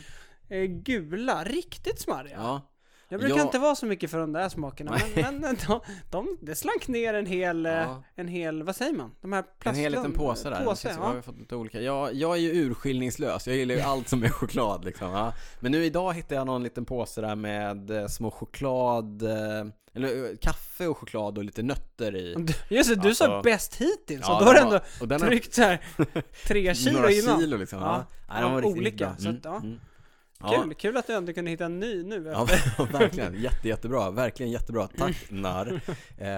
Eh, gula, riktigt smarriga.
ja.
Jag brukar
Ja.
inte vara så mycket för de där smakerna, men, men de, de, det slank ner en hel, eh,
Ja.
en hel, vad säger man? De här plast,
En hel liten påse där.
Påse,
Påse, Jag har
ja.
fått lite olika. Jag, jag är ju urskiljningslös. Jag gillar ju allt som är choklad liksom. Ja. Men nu idag hittade jag någon liten påse där med eh, små choklad, eh, eller eh, kaffe och choklad och lite nötter i.
Just det, du sa
typ. Alltså-
bäst hittills,
Ja,
och då har du
den
ändå
var- och den har-
tryckt så här
[laughs]
tre kilo
Några
innan.
kilo liksom.
Ja.
Ja. Nej, de var riktigt
Olika,
bra. Mm.
så att, ja.
Ja.
Kul, liksom. kul att du ändå kunde hitta en ny nu.
Ja, [laughs] verkligen. Jätte, jättebra. Verkligen jättebra.
[laughs]
Tack, narr. Eh,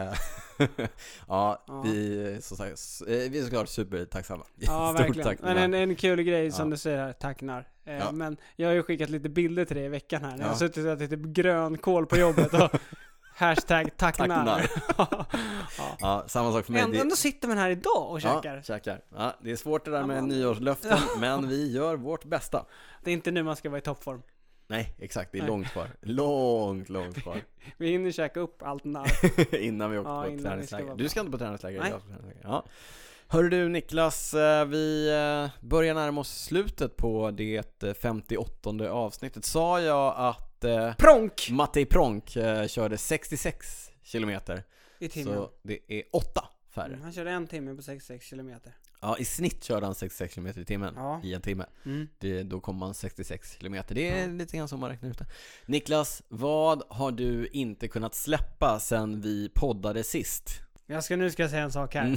[laughs] ja,
Ja.
vi, som sagt, s- eh, vi är såklart supertacksamma. [laughs]
Ja, verkligen.
tack.
men en, en kul grej som
Ja.
du säger här, tack Nar. Eh,
Ja.
Men jag har ju skickat lite bilder till dig i veckan här. När Jag har
Ja.
suttit och ätit typ grönkål på jobbet och
[laughs]
hashtag tack,
Tack,
Nar.
narr.
[laughs] Ja.
Ja, samma sak för mig.
Ändå,
Det-
ändå sitter man här idag och käkar.
Ja, käkar. Ja, det är svårt det där med
Ja. [laughs]
nyårslöften, men vi gör vårt bästa.
Det är inte nu man ska vara i toppform.
Nej, exakt. Det är
Nej.
långt kvar. Långt, långt kvar.
Vi hinner käka upp allt
[laughs]
narr.
innan vi åkte
Ja, innan vi
på
ska vara
träningsläger.
bra.
Du ska inte på träningsläger?
Nej.
jag ska på träningsläger. Ja. Hörru du Niklas, eh, vi eh, börjar närma oss slutet på det eh, 58 avsnittet. Sa jag att eh,
Pronk!
Mattei Pronk eh, körde 66 kilometer?
I timmen.
[laughs] Så det är åtta färre.
Mm, han körde en timme på 66 kilometer.
Ja, i snitt körde han 66 kilometer i timmen
Ja.
i en timme.
Mm.
Det, då kommer man 66 kilometer. Det är lite grann som man räknar ut det. Niklas, vad har du inte kunnat släppa sen vi poddade sist?
Jag ska, nu ska jag säga en
[laughs]
sak här.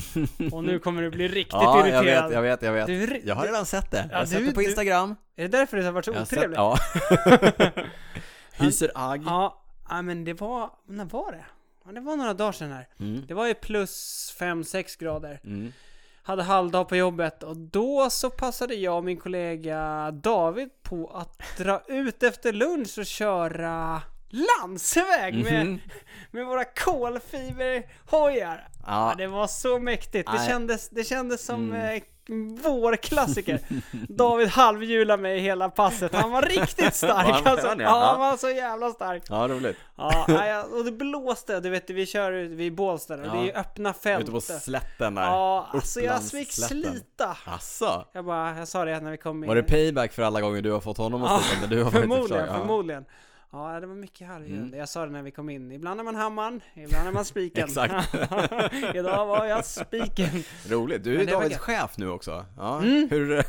Och nu kommer du bli riktigt
Ja, jag
irriterad.
vet, jag vet, jag vet.
Du är ri-
Jag har
du-
redan sett det. Jag
Ja,
har sett
du-
det på
du-
Instagram.
Är det därför det har varit så
Jag har sett-
otrevligt? [laughs]
Ja. Hyser agg.
Ja, ja, men det var, när var det? Ja, det var några dagar sedan här.
Mm.
Det var ju plus 5-6 grader.
Mm.
Hade halvdag på jobbet och då så passade jag och min kollega David på att dra ut efter lunch och köra landsväg med,
Mhm.
med våra kolfiberhojar.
Ja.
Ja, det var så mäktigt. Det
Nej. Mm.
kändes, det kändes som eh, vår klassiker. [laughs] David halvhjulade mig hela passet. Han var
[laughs]
riktigt stark.
Var han
alltså.
skön, ja?
ja, han
Ja.
var så jävla stark.
Ja, roligt. [laughs]
Ja, nej, jag- och det blåste, du vet vi kör ut vid Bålsta där, och det är ju
Ja.
öppna fält.
Ute på slätten där.
Ja, alltså jag fick
Upplandsslätten.
slita.
Asså?
Jag bara, jag sa det när vi kom in.
Var det payback för alla gånger du har fått honom att sluta? när du har varit i
förmodligen,
förslag? typ Ja. Mm.
förmodligen. Ja, det var mycket halvhjul. Jag sa det när vi kom in. Ibland är man hammaren, ibland är man
[laughs]
spiken.
Exakt.
[laughs] Idag var jag spiken.
[laughs] Roligt. Du är
det Mm. var
Davids
gött.
chef nu också. Ja,
[laughs]
hur...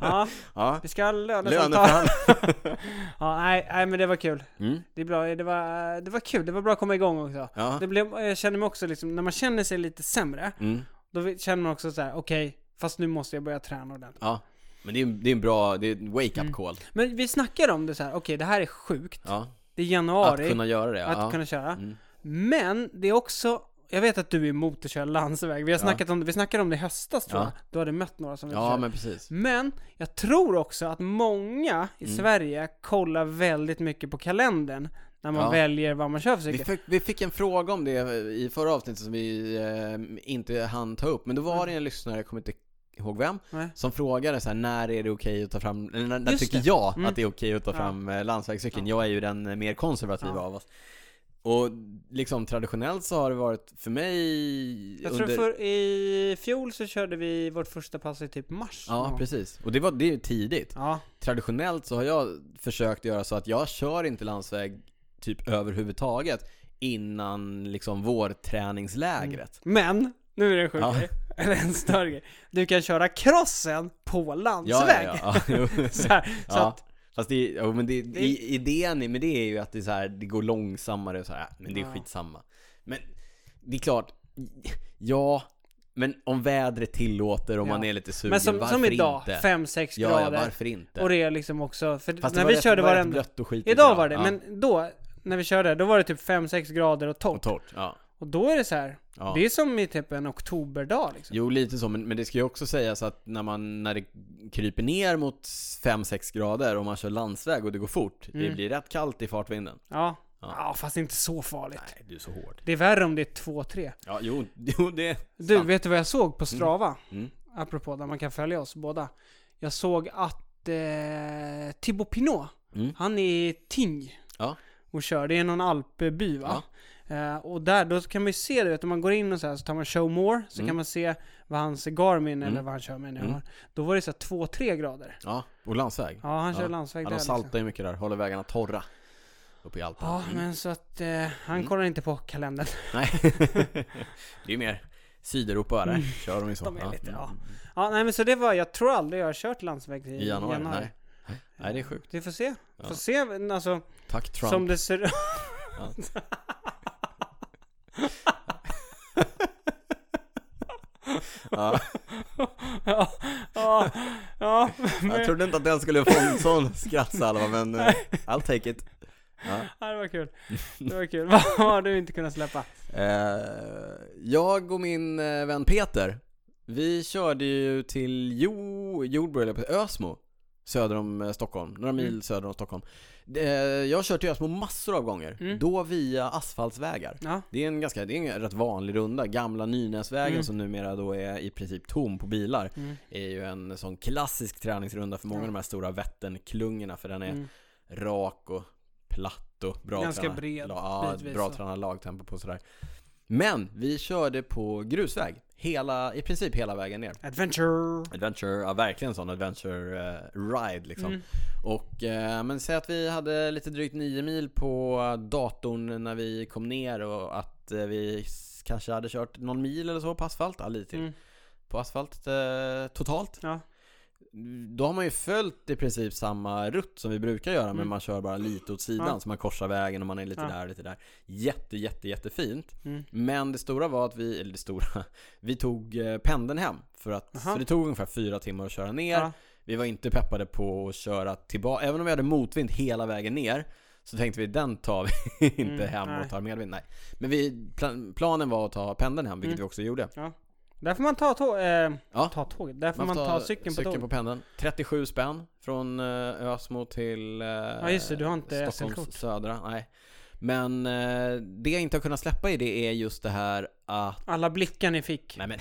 Ja,
ja.
vi ska ha lönesamtal.
Löneförhandling.
[laughs] Ja, nej, nej, men det var kul.
Mm.
Det, är bra, det, var, det var kul, det var bra att komma igång också.
Ja.
Det blev, jag känner mig också liksom, när man känner sig lite sämre,
Mm.
då känner man också så här: okej, fast nu måste jag börja träna ordentligt.
Ja. Men det är, en- det är en bra, det är en
Mm.
wake-up call.
Men vi snackar om det så här, okej det här är sjukt.
Ja.
Det är
Att
januari.
kunna göra det.
att
ja. Mm.
kunna köra. Men det är också, jag vet att du är emot att köra landsväg. Vi har snackat om det, vi snackade om det i höstas tror
Ja.
jag. Du hade mött några som ville
ja,
köra.
men precis.
Men jag tror också att många
Mm.
i Sverige kollar väldigt mycket på kalendern när man
Ja.
väljer vad man kör för
Vi
cykel.
fick, vi fick en fråga om det i förra avsnittet som vi eh, inte hann ta upp, men då var det en lyssnare, jag kommer inte ihåg vem,
Mm. Nej.
som frågade så här, när är det okej att ta fram, eller när, när
Just
tycker
det.
jag
Mm.
att det är okej att ta
Ja.
fram eh, landsvägscykeln? Jag är ju den eh, mer konservativa
Ja.
av oss. Och liksom traditionellt så har det varit för mig
Jag
under...
tror för i fjol så körde vi vårt första pass i typ mars. någon
Ja,
gång.
precis. Och det, var, det är ju tidigt.
Ja,
traditionellt så har jag försökt göra så att jag kör inte landsväg typ överhuvudtaget innan liksom vårträningslägret.
Men, nu är det en sjuk
Ja.
grej. [laughs] Eller en större grej. Du kan köra crossen på
Ja,
landsväg.
ja, ja. Jo.
[laughs] Så, här, så
ja.
att,
Fast det, är- jo, men det, i, idén i- med det är ju att det, är så här, det går långsammare och så här, men det är
Ja.
skitsamma. Men det är klart, ja, men om vädret tillåter, om
Ja.
man är lite sugen,
men som,
varför
som idag,
inte?
5-6
ja, ja,
grader.
varför inte?
och det är liksom också, för
Fast det
när
var
vi
rätt-
körde
det var
var
rätt
det
blött och skitigt.
Idag
ja.
var det,
ja.
men då, när vi körde, då var det typ 5-6 grader och torrt.
Och
Och,
torrt, ja.
då är det så här.
Ja.
det är som i typ en oktoberdag liksom.
Jo, lite så, men, men det ska ju också sägas att när, man, när det kryper ner mot 5-6 grader och man kör landsväg och det går fort,
Mm.
det blir rätt kallt i fartvinden.
Ja. ja. fast det är inte så farligt.
Nej, du är så hård.
Det är värre om det är 2-3.
Ja, jo, [laughs] jo det...
Du, vet du vad jag såg på Strava?
Mm.
Apropå där man kan följa oss båda. Jag såg att eh, Thibaut Pinot,
Mm.
han är Ting.
Ja.
och kör. Det är någon alpby va? Eh, och där, då kan man ju se det, vet, du, om man går in och så, här, så tar man show more, så
Mm.
kan man se vad hans Garmin eller vad han kör med nu har. Då var det så här 2-3 grader.
Ja, och landsväg.
Ja, han kör landsväg
ja,
där.
de
liksom.
saltar ju mycket där, håller vägarna torra. Uppe i Alperna.
Ja, men så att eh, han
Mm.
kollar inte på kalendern.
Nej. det är ju mer Sydeuropa där. Kör [laughs] de ju så.
Mm. De är
Ja.
lite, ja. ja, nej men så det var, jag tror aldrig jag har kört landsväg i,
I januari? Nej. Nej, det är sjukt.
Vi får se. Får se, men alltså,
Tack Trump.
som det ser [laughs]
Ja.
Ja, ja, ja.
Jag trodde inte att den skulle få en sån skrattsalva men eh, I'll take it.
Ja, det var kul. Det var kul. Vad har du inte kunnat släppa?
Eh, jag och min eh, vän Peter, vi körde ju till jo, Jordbro, eller på Ösmo. Söder om eh, Stockholm, några mil söder om Stockholm. Eh, jag har kört till Ösmo massor av gånger, då via asfaltsvägar.
Ja.
Det är en ganska, det är en rätt vanlig runda. Gamla Nynäsvägen som numera då är i princip tom på bilar. Är ju en sån klassisk träningsrunda för många av de här stora Vätternklungorna för
Mm.
den är rak och platt och bra
Ganska
tränad-
bred,
ja,
bitvis
bra
så.
tränad lagtempo på sådär. Men vi körde på grusväg. Hela, i princip hela vägen ner.
Adventure.
Adventure, ja verkligen sån adventure eh, ride liksom.
Mm.
Och eh, men säg att vi hade lite drygt 9 mil på datorn när vi kom ner och att eh, vi s- kanske hade kört någon mil eller så på asfalt, ja lite till.
Mm.
På asfalt eh, totalt.
Ja.
Då har man ju följt i princip samma rutt som vi brukar göra men
Mm.
man kör bara lite åt sidan
Ja.
så man korsar vägen och man är lite
Ja.
där och lite där. Jätte jätte jättefint.
Mm.
Men det stora var att vi, eller det stora, [laughs] vi tog eh, pendeln hem för att,
Aha.
så det tog ungefär fyra timmar att köra ner.
Ja.
Vi var inte peppade på att köra tillbaka, även om vi hade motvind hela vägen ner så tänkte vi den tar vi [laughs] inte
Mm,
hem
nej.
och tar medvind. Nej. Men vi, plan, planen var att ta pendeln hem,
Mm.
vilket vi också gjorde.
Där får man ta, tå- eh,
Ja.
ta tåget. Där får man, ta cykeln på tåget.
pendeln. 37 spänn från eh, Ösmo till eh, ja,
just det, du har inte
Stockholms
SL-kort.
södra. Nej. Men eh, det jag inte har kunnat släppa i det är just det här att
Alla blickar ni fick.
Nej men...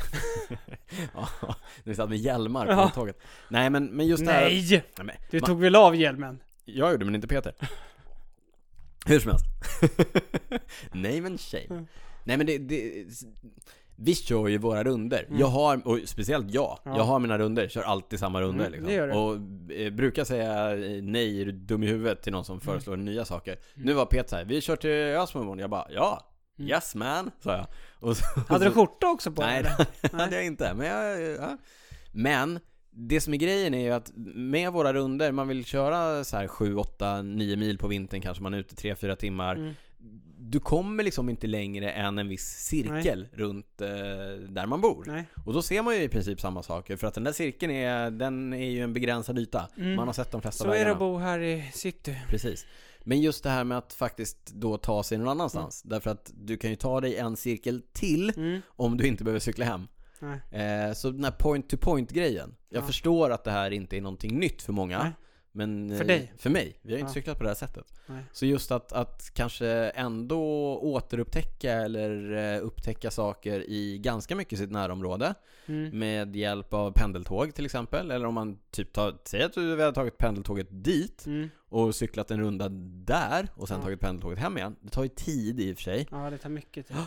[laughs] ja, när vi satt med hjälmar på
Ja.
tåget. Nej men, men just det här...
Nej!
Nej, men,
Du
man-
tog väl av hjälmen?
Jag gjorde men inte Peter. [laughs] Hur som helst. [laughs] Nej men tjej.
Mm.
Nej men det... det vi kör ju våra runder. Jag har, och speciellt jag,
Mm. Ja.
jag har mina runder. Kör alltid samma runder
Mm,
liksom.
det gör du.
Och eh, brukar säga eh, nej, är du dum i huvudet till någon
Mm.
som föreslår nya saker. Nu var Peter så här, vi kör till Ösmo imorgon. Jag bara, ja.
Mm.
Yes man, sa jag. Och så,
Hade du skjorta också på
Nej, [laughs]
dig?
det hade jag inte. Men, jag, ja. men det som är grejen är ju att med våra runder man vill köra så här 7, 8, 9 mil på vintern kanske man är ute 3-4 timmar.
Mm.
Du kommer liksom inte längre än en viss cirkel runt eh, där man bor.
Nej.
Och då ser man ju i princip samma saker för att den där cirkeln är, den är ju en begränsad yta. Man har sett de flesta
Mm. Så är
vägarna.
det att bo här i city.
Precis. Men just det här med att faktiskt då ta sig någon annanstans. Därför att du kan ju ta dig en cirkel till
Mm.
om du inte behöver cykla hem.
Nej.
Eh, så den här point-to-point-grejen. Jag
Ja.
förstår att det här inte är någonting nytt för många.
Nej.
Men eh,
För dig.
för mig. Vi har inte
Ja.
cyklat på det här sättet.
Nej.
Så just att, att kanske ändå återupptäcka eller eh, upptäcka saker i ganska mycket sitt närområde.
Mm.
Med hjälp av pendeltåg till exempel. Eller om man typ tar, säg att du har tagit pendeltåget dit
Mm.
och cyklat en runda där och sen
Ja.
tagit pendeltåget hem igen. Det tar ju tid i och för sig.
Ja, det tar mycket tid.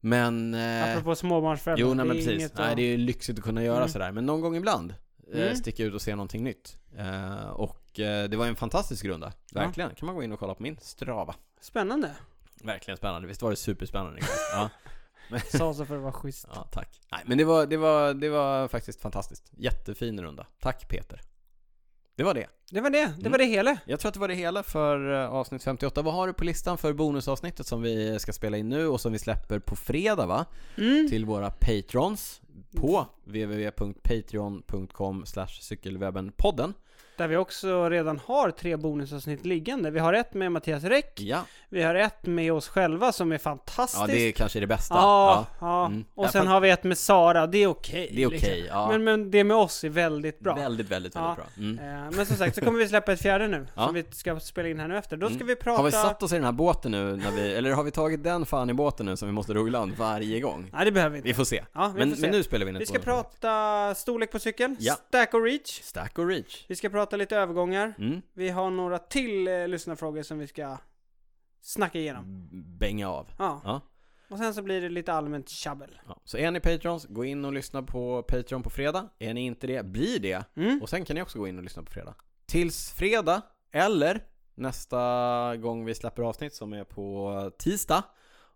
Men... [gasps] eh,
Apropå småbarnsföräldrar.
Jo, nej,
det är
men precis.
inget att-
Nej, det är ju lyxigt att kunna göra
Mm.
sådär. Men någon gång ibland eh,
Mm.
sticka ut och se någonting nytt. Eh, och eh, det var en fantastisk runda. Verkligen. Kan man gå in och kolla på min Strava. [laughs]
Spännande.
Verkligen spännande. Visst var det
[laughs]
superspännande? Niklas? ja.
Sa så för att vara schysst.
ja, tack. Nej, men det var, det, var, det var faktiskt fantastiskt. Jättefin runda. Tack Peter. Det var det.
Det var det.
Mm.
Det var det hela.
Jag tror att det var det hela för eh, avsnitt 58. Vad har du på listan för bonusavsnittet som vi ska spela in nu och som vi släpper på fredag va?
Mm.
till våra patrons på www.patreon.com cykelwebbenpodden.
Där vi också redan har tre bonusavsnitt liggande. Vi har ett med Mattias Räck.
Ja.
Vi har ett med oss själva som är fantastiskt.
ja, det är kanske det bästa.
Ja,
Ja.
ja.
Mm.
Och sen
Därför-
har vi ett med Sara, det är okej. liksom.
Det är okej, ja.
men, men det med oss är väldigt bra.
Väldigt, väldigt, väldigt
Ja.
bra. Mm.
Eh, Men som sagt så kommer vi släppa ett fjärde nu,
Ja. Mm.
som vi ska spela in här nu efter. Då ska vi prata...
Har vi satt oss i den här båten nu när vi, eller har vi tagit den fan i båten nu som vi måste ro i land varje gång?
Nej det behöver vi inte.
Vi får se.
Ja, vi
men,
får se.
men nu spelar vi in ett
Vi ska
bonus-
prata storlek på cykeln,
Ja.
stack och reach.
Stack och reach.
Vi ska prata lite övergångar.
Mm.
Vi har några till eh, lyssnarfrågor som vi ska snacka igenom.
bänga av.
Ja.
Ja.
Och sen så blir det lite allmänt tjabbel.
Ja. Så är ni Patrons, gå in och lyssna på Patreon på fredag. Är ni inte det, bli det.
Mm.
Och sen kan ni också gå in och lyssna på fredag. Tills fredag, eller nästa gång vi släpper avsnitt som är på tisdag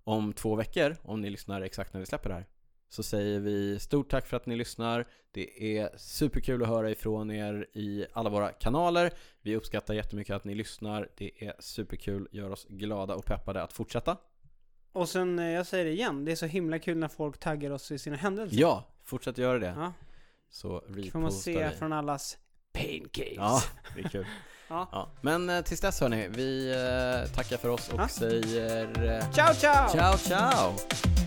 om två veckor, om ni lyssnar exakt när vi släpper det här. Så säger vi stort tack för att ni lyssnar. Det är superkul att höra ifrån er i alla våra kanaler. Vi uppskattar jättemycket att ni lyssnar. Det är superkul, gör oss glada och peppade att fortsätta.
Och sen, eh, jag säger det igen, det är så himla kul när folk taggar oss i sina händelser.
Ja, fortsätt göra det.
Ja.
Så repostar
Får man se
vi.
från allas pain case.
Ja, det är kul.
[laughs] Ja.
Ja. Men eh, tills dess hörni, vi eh, tackar för oss och
Ja.
säger eh,
Ciao ciao!
ciao ciao!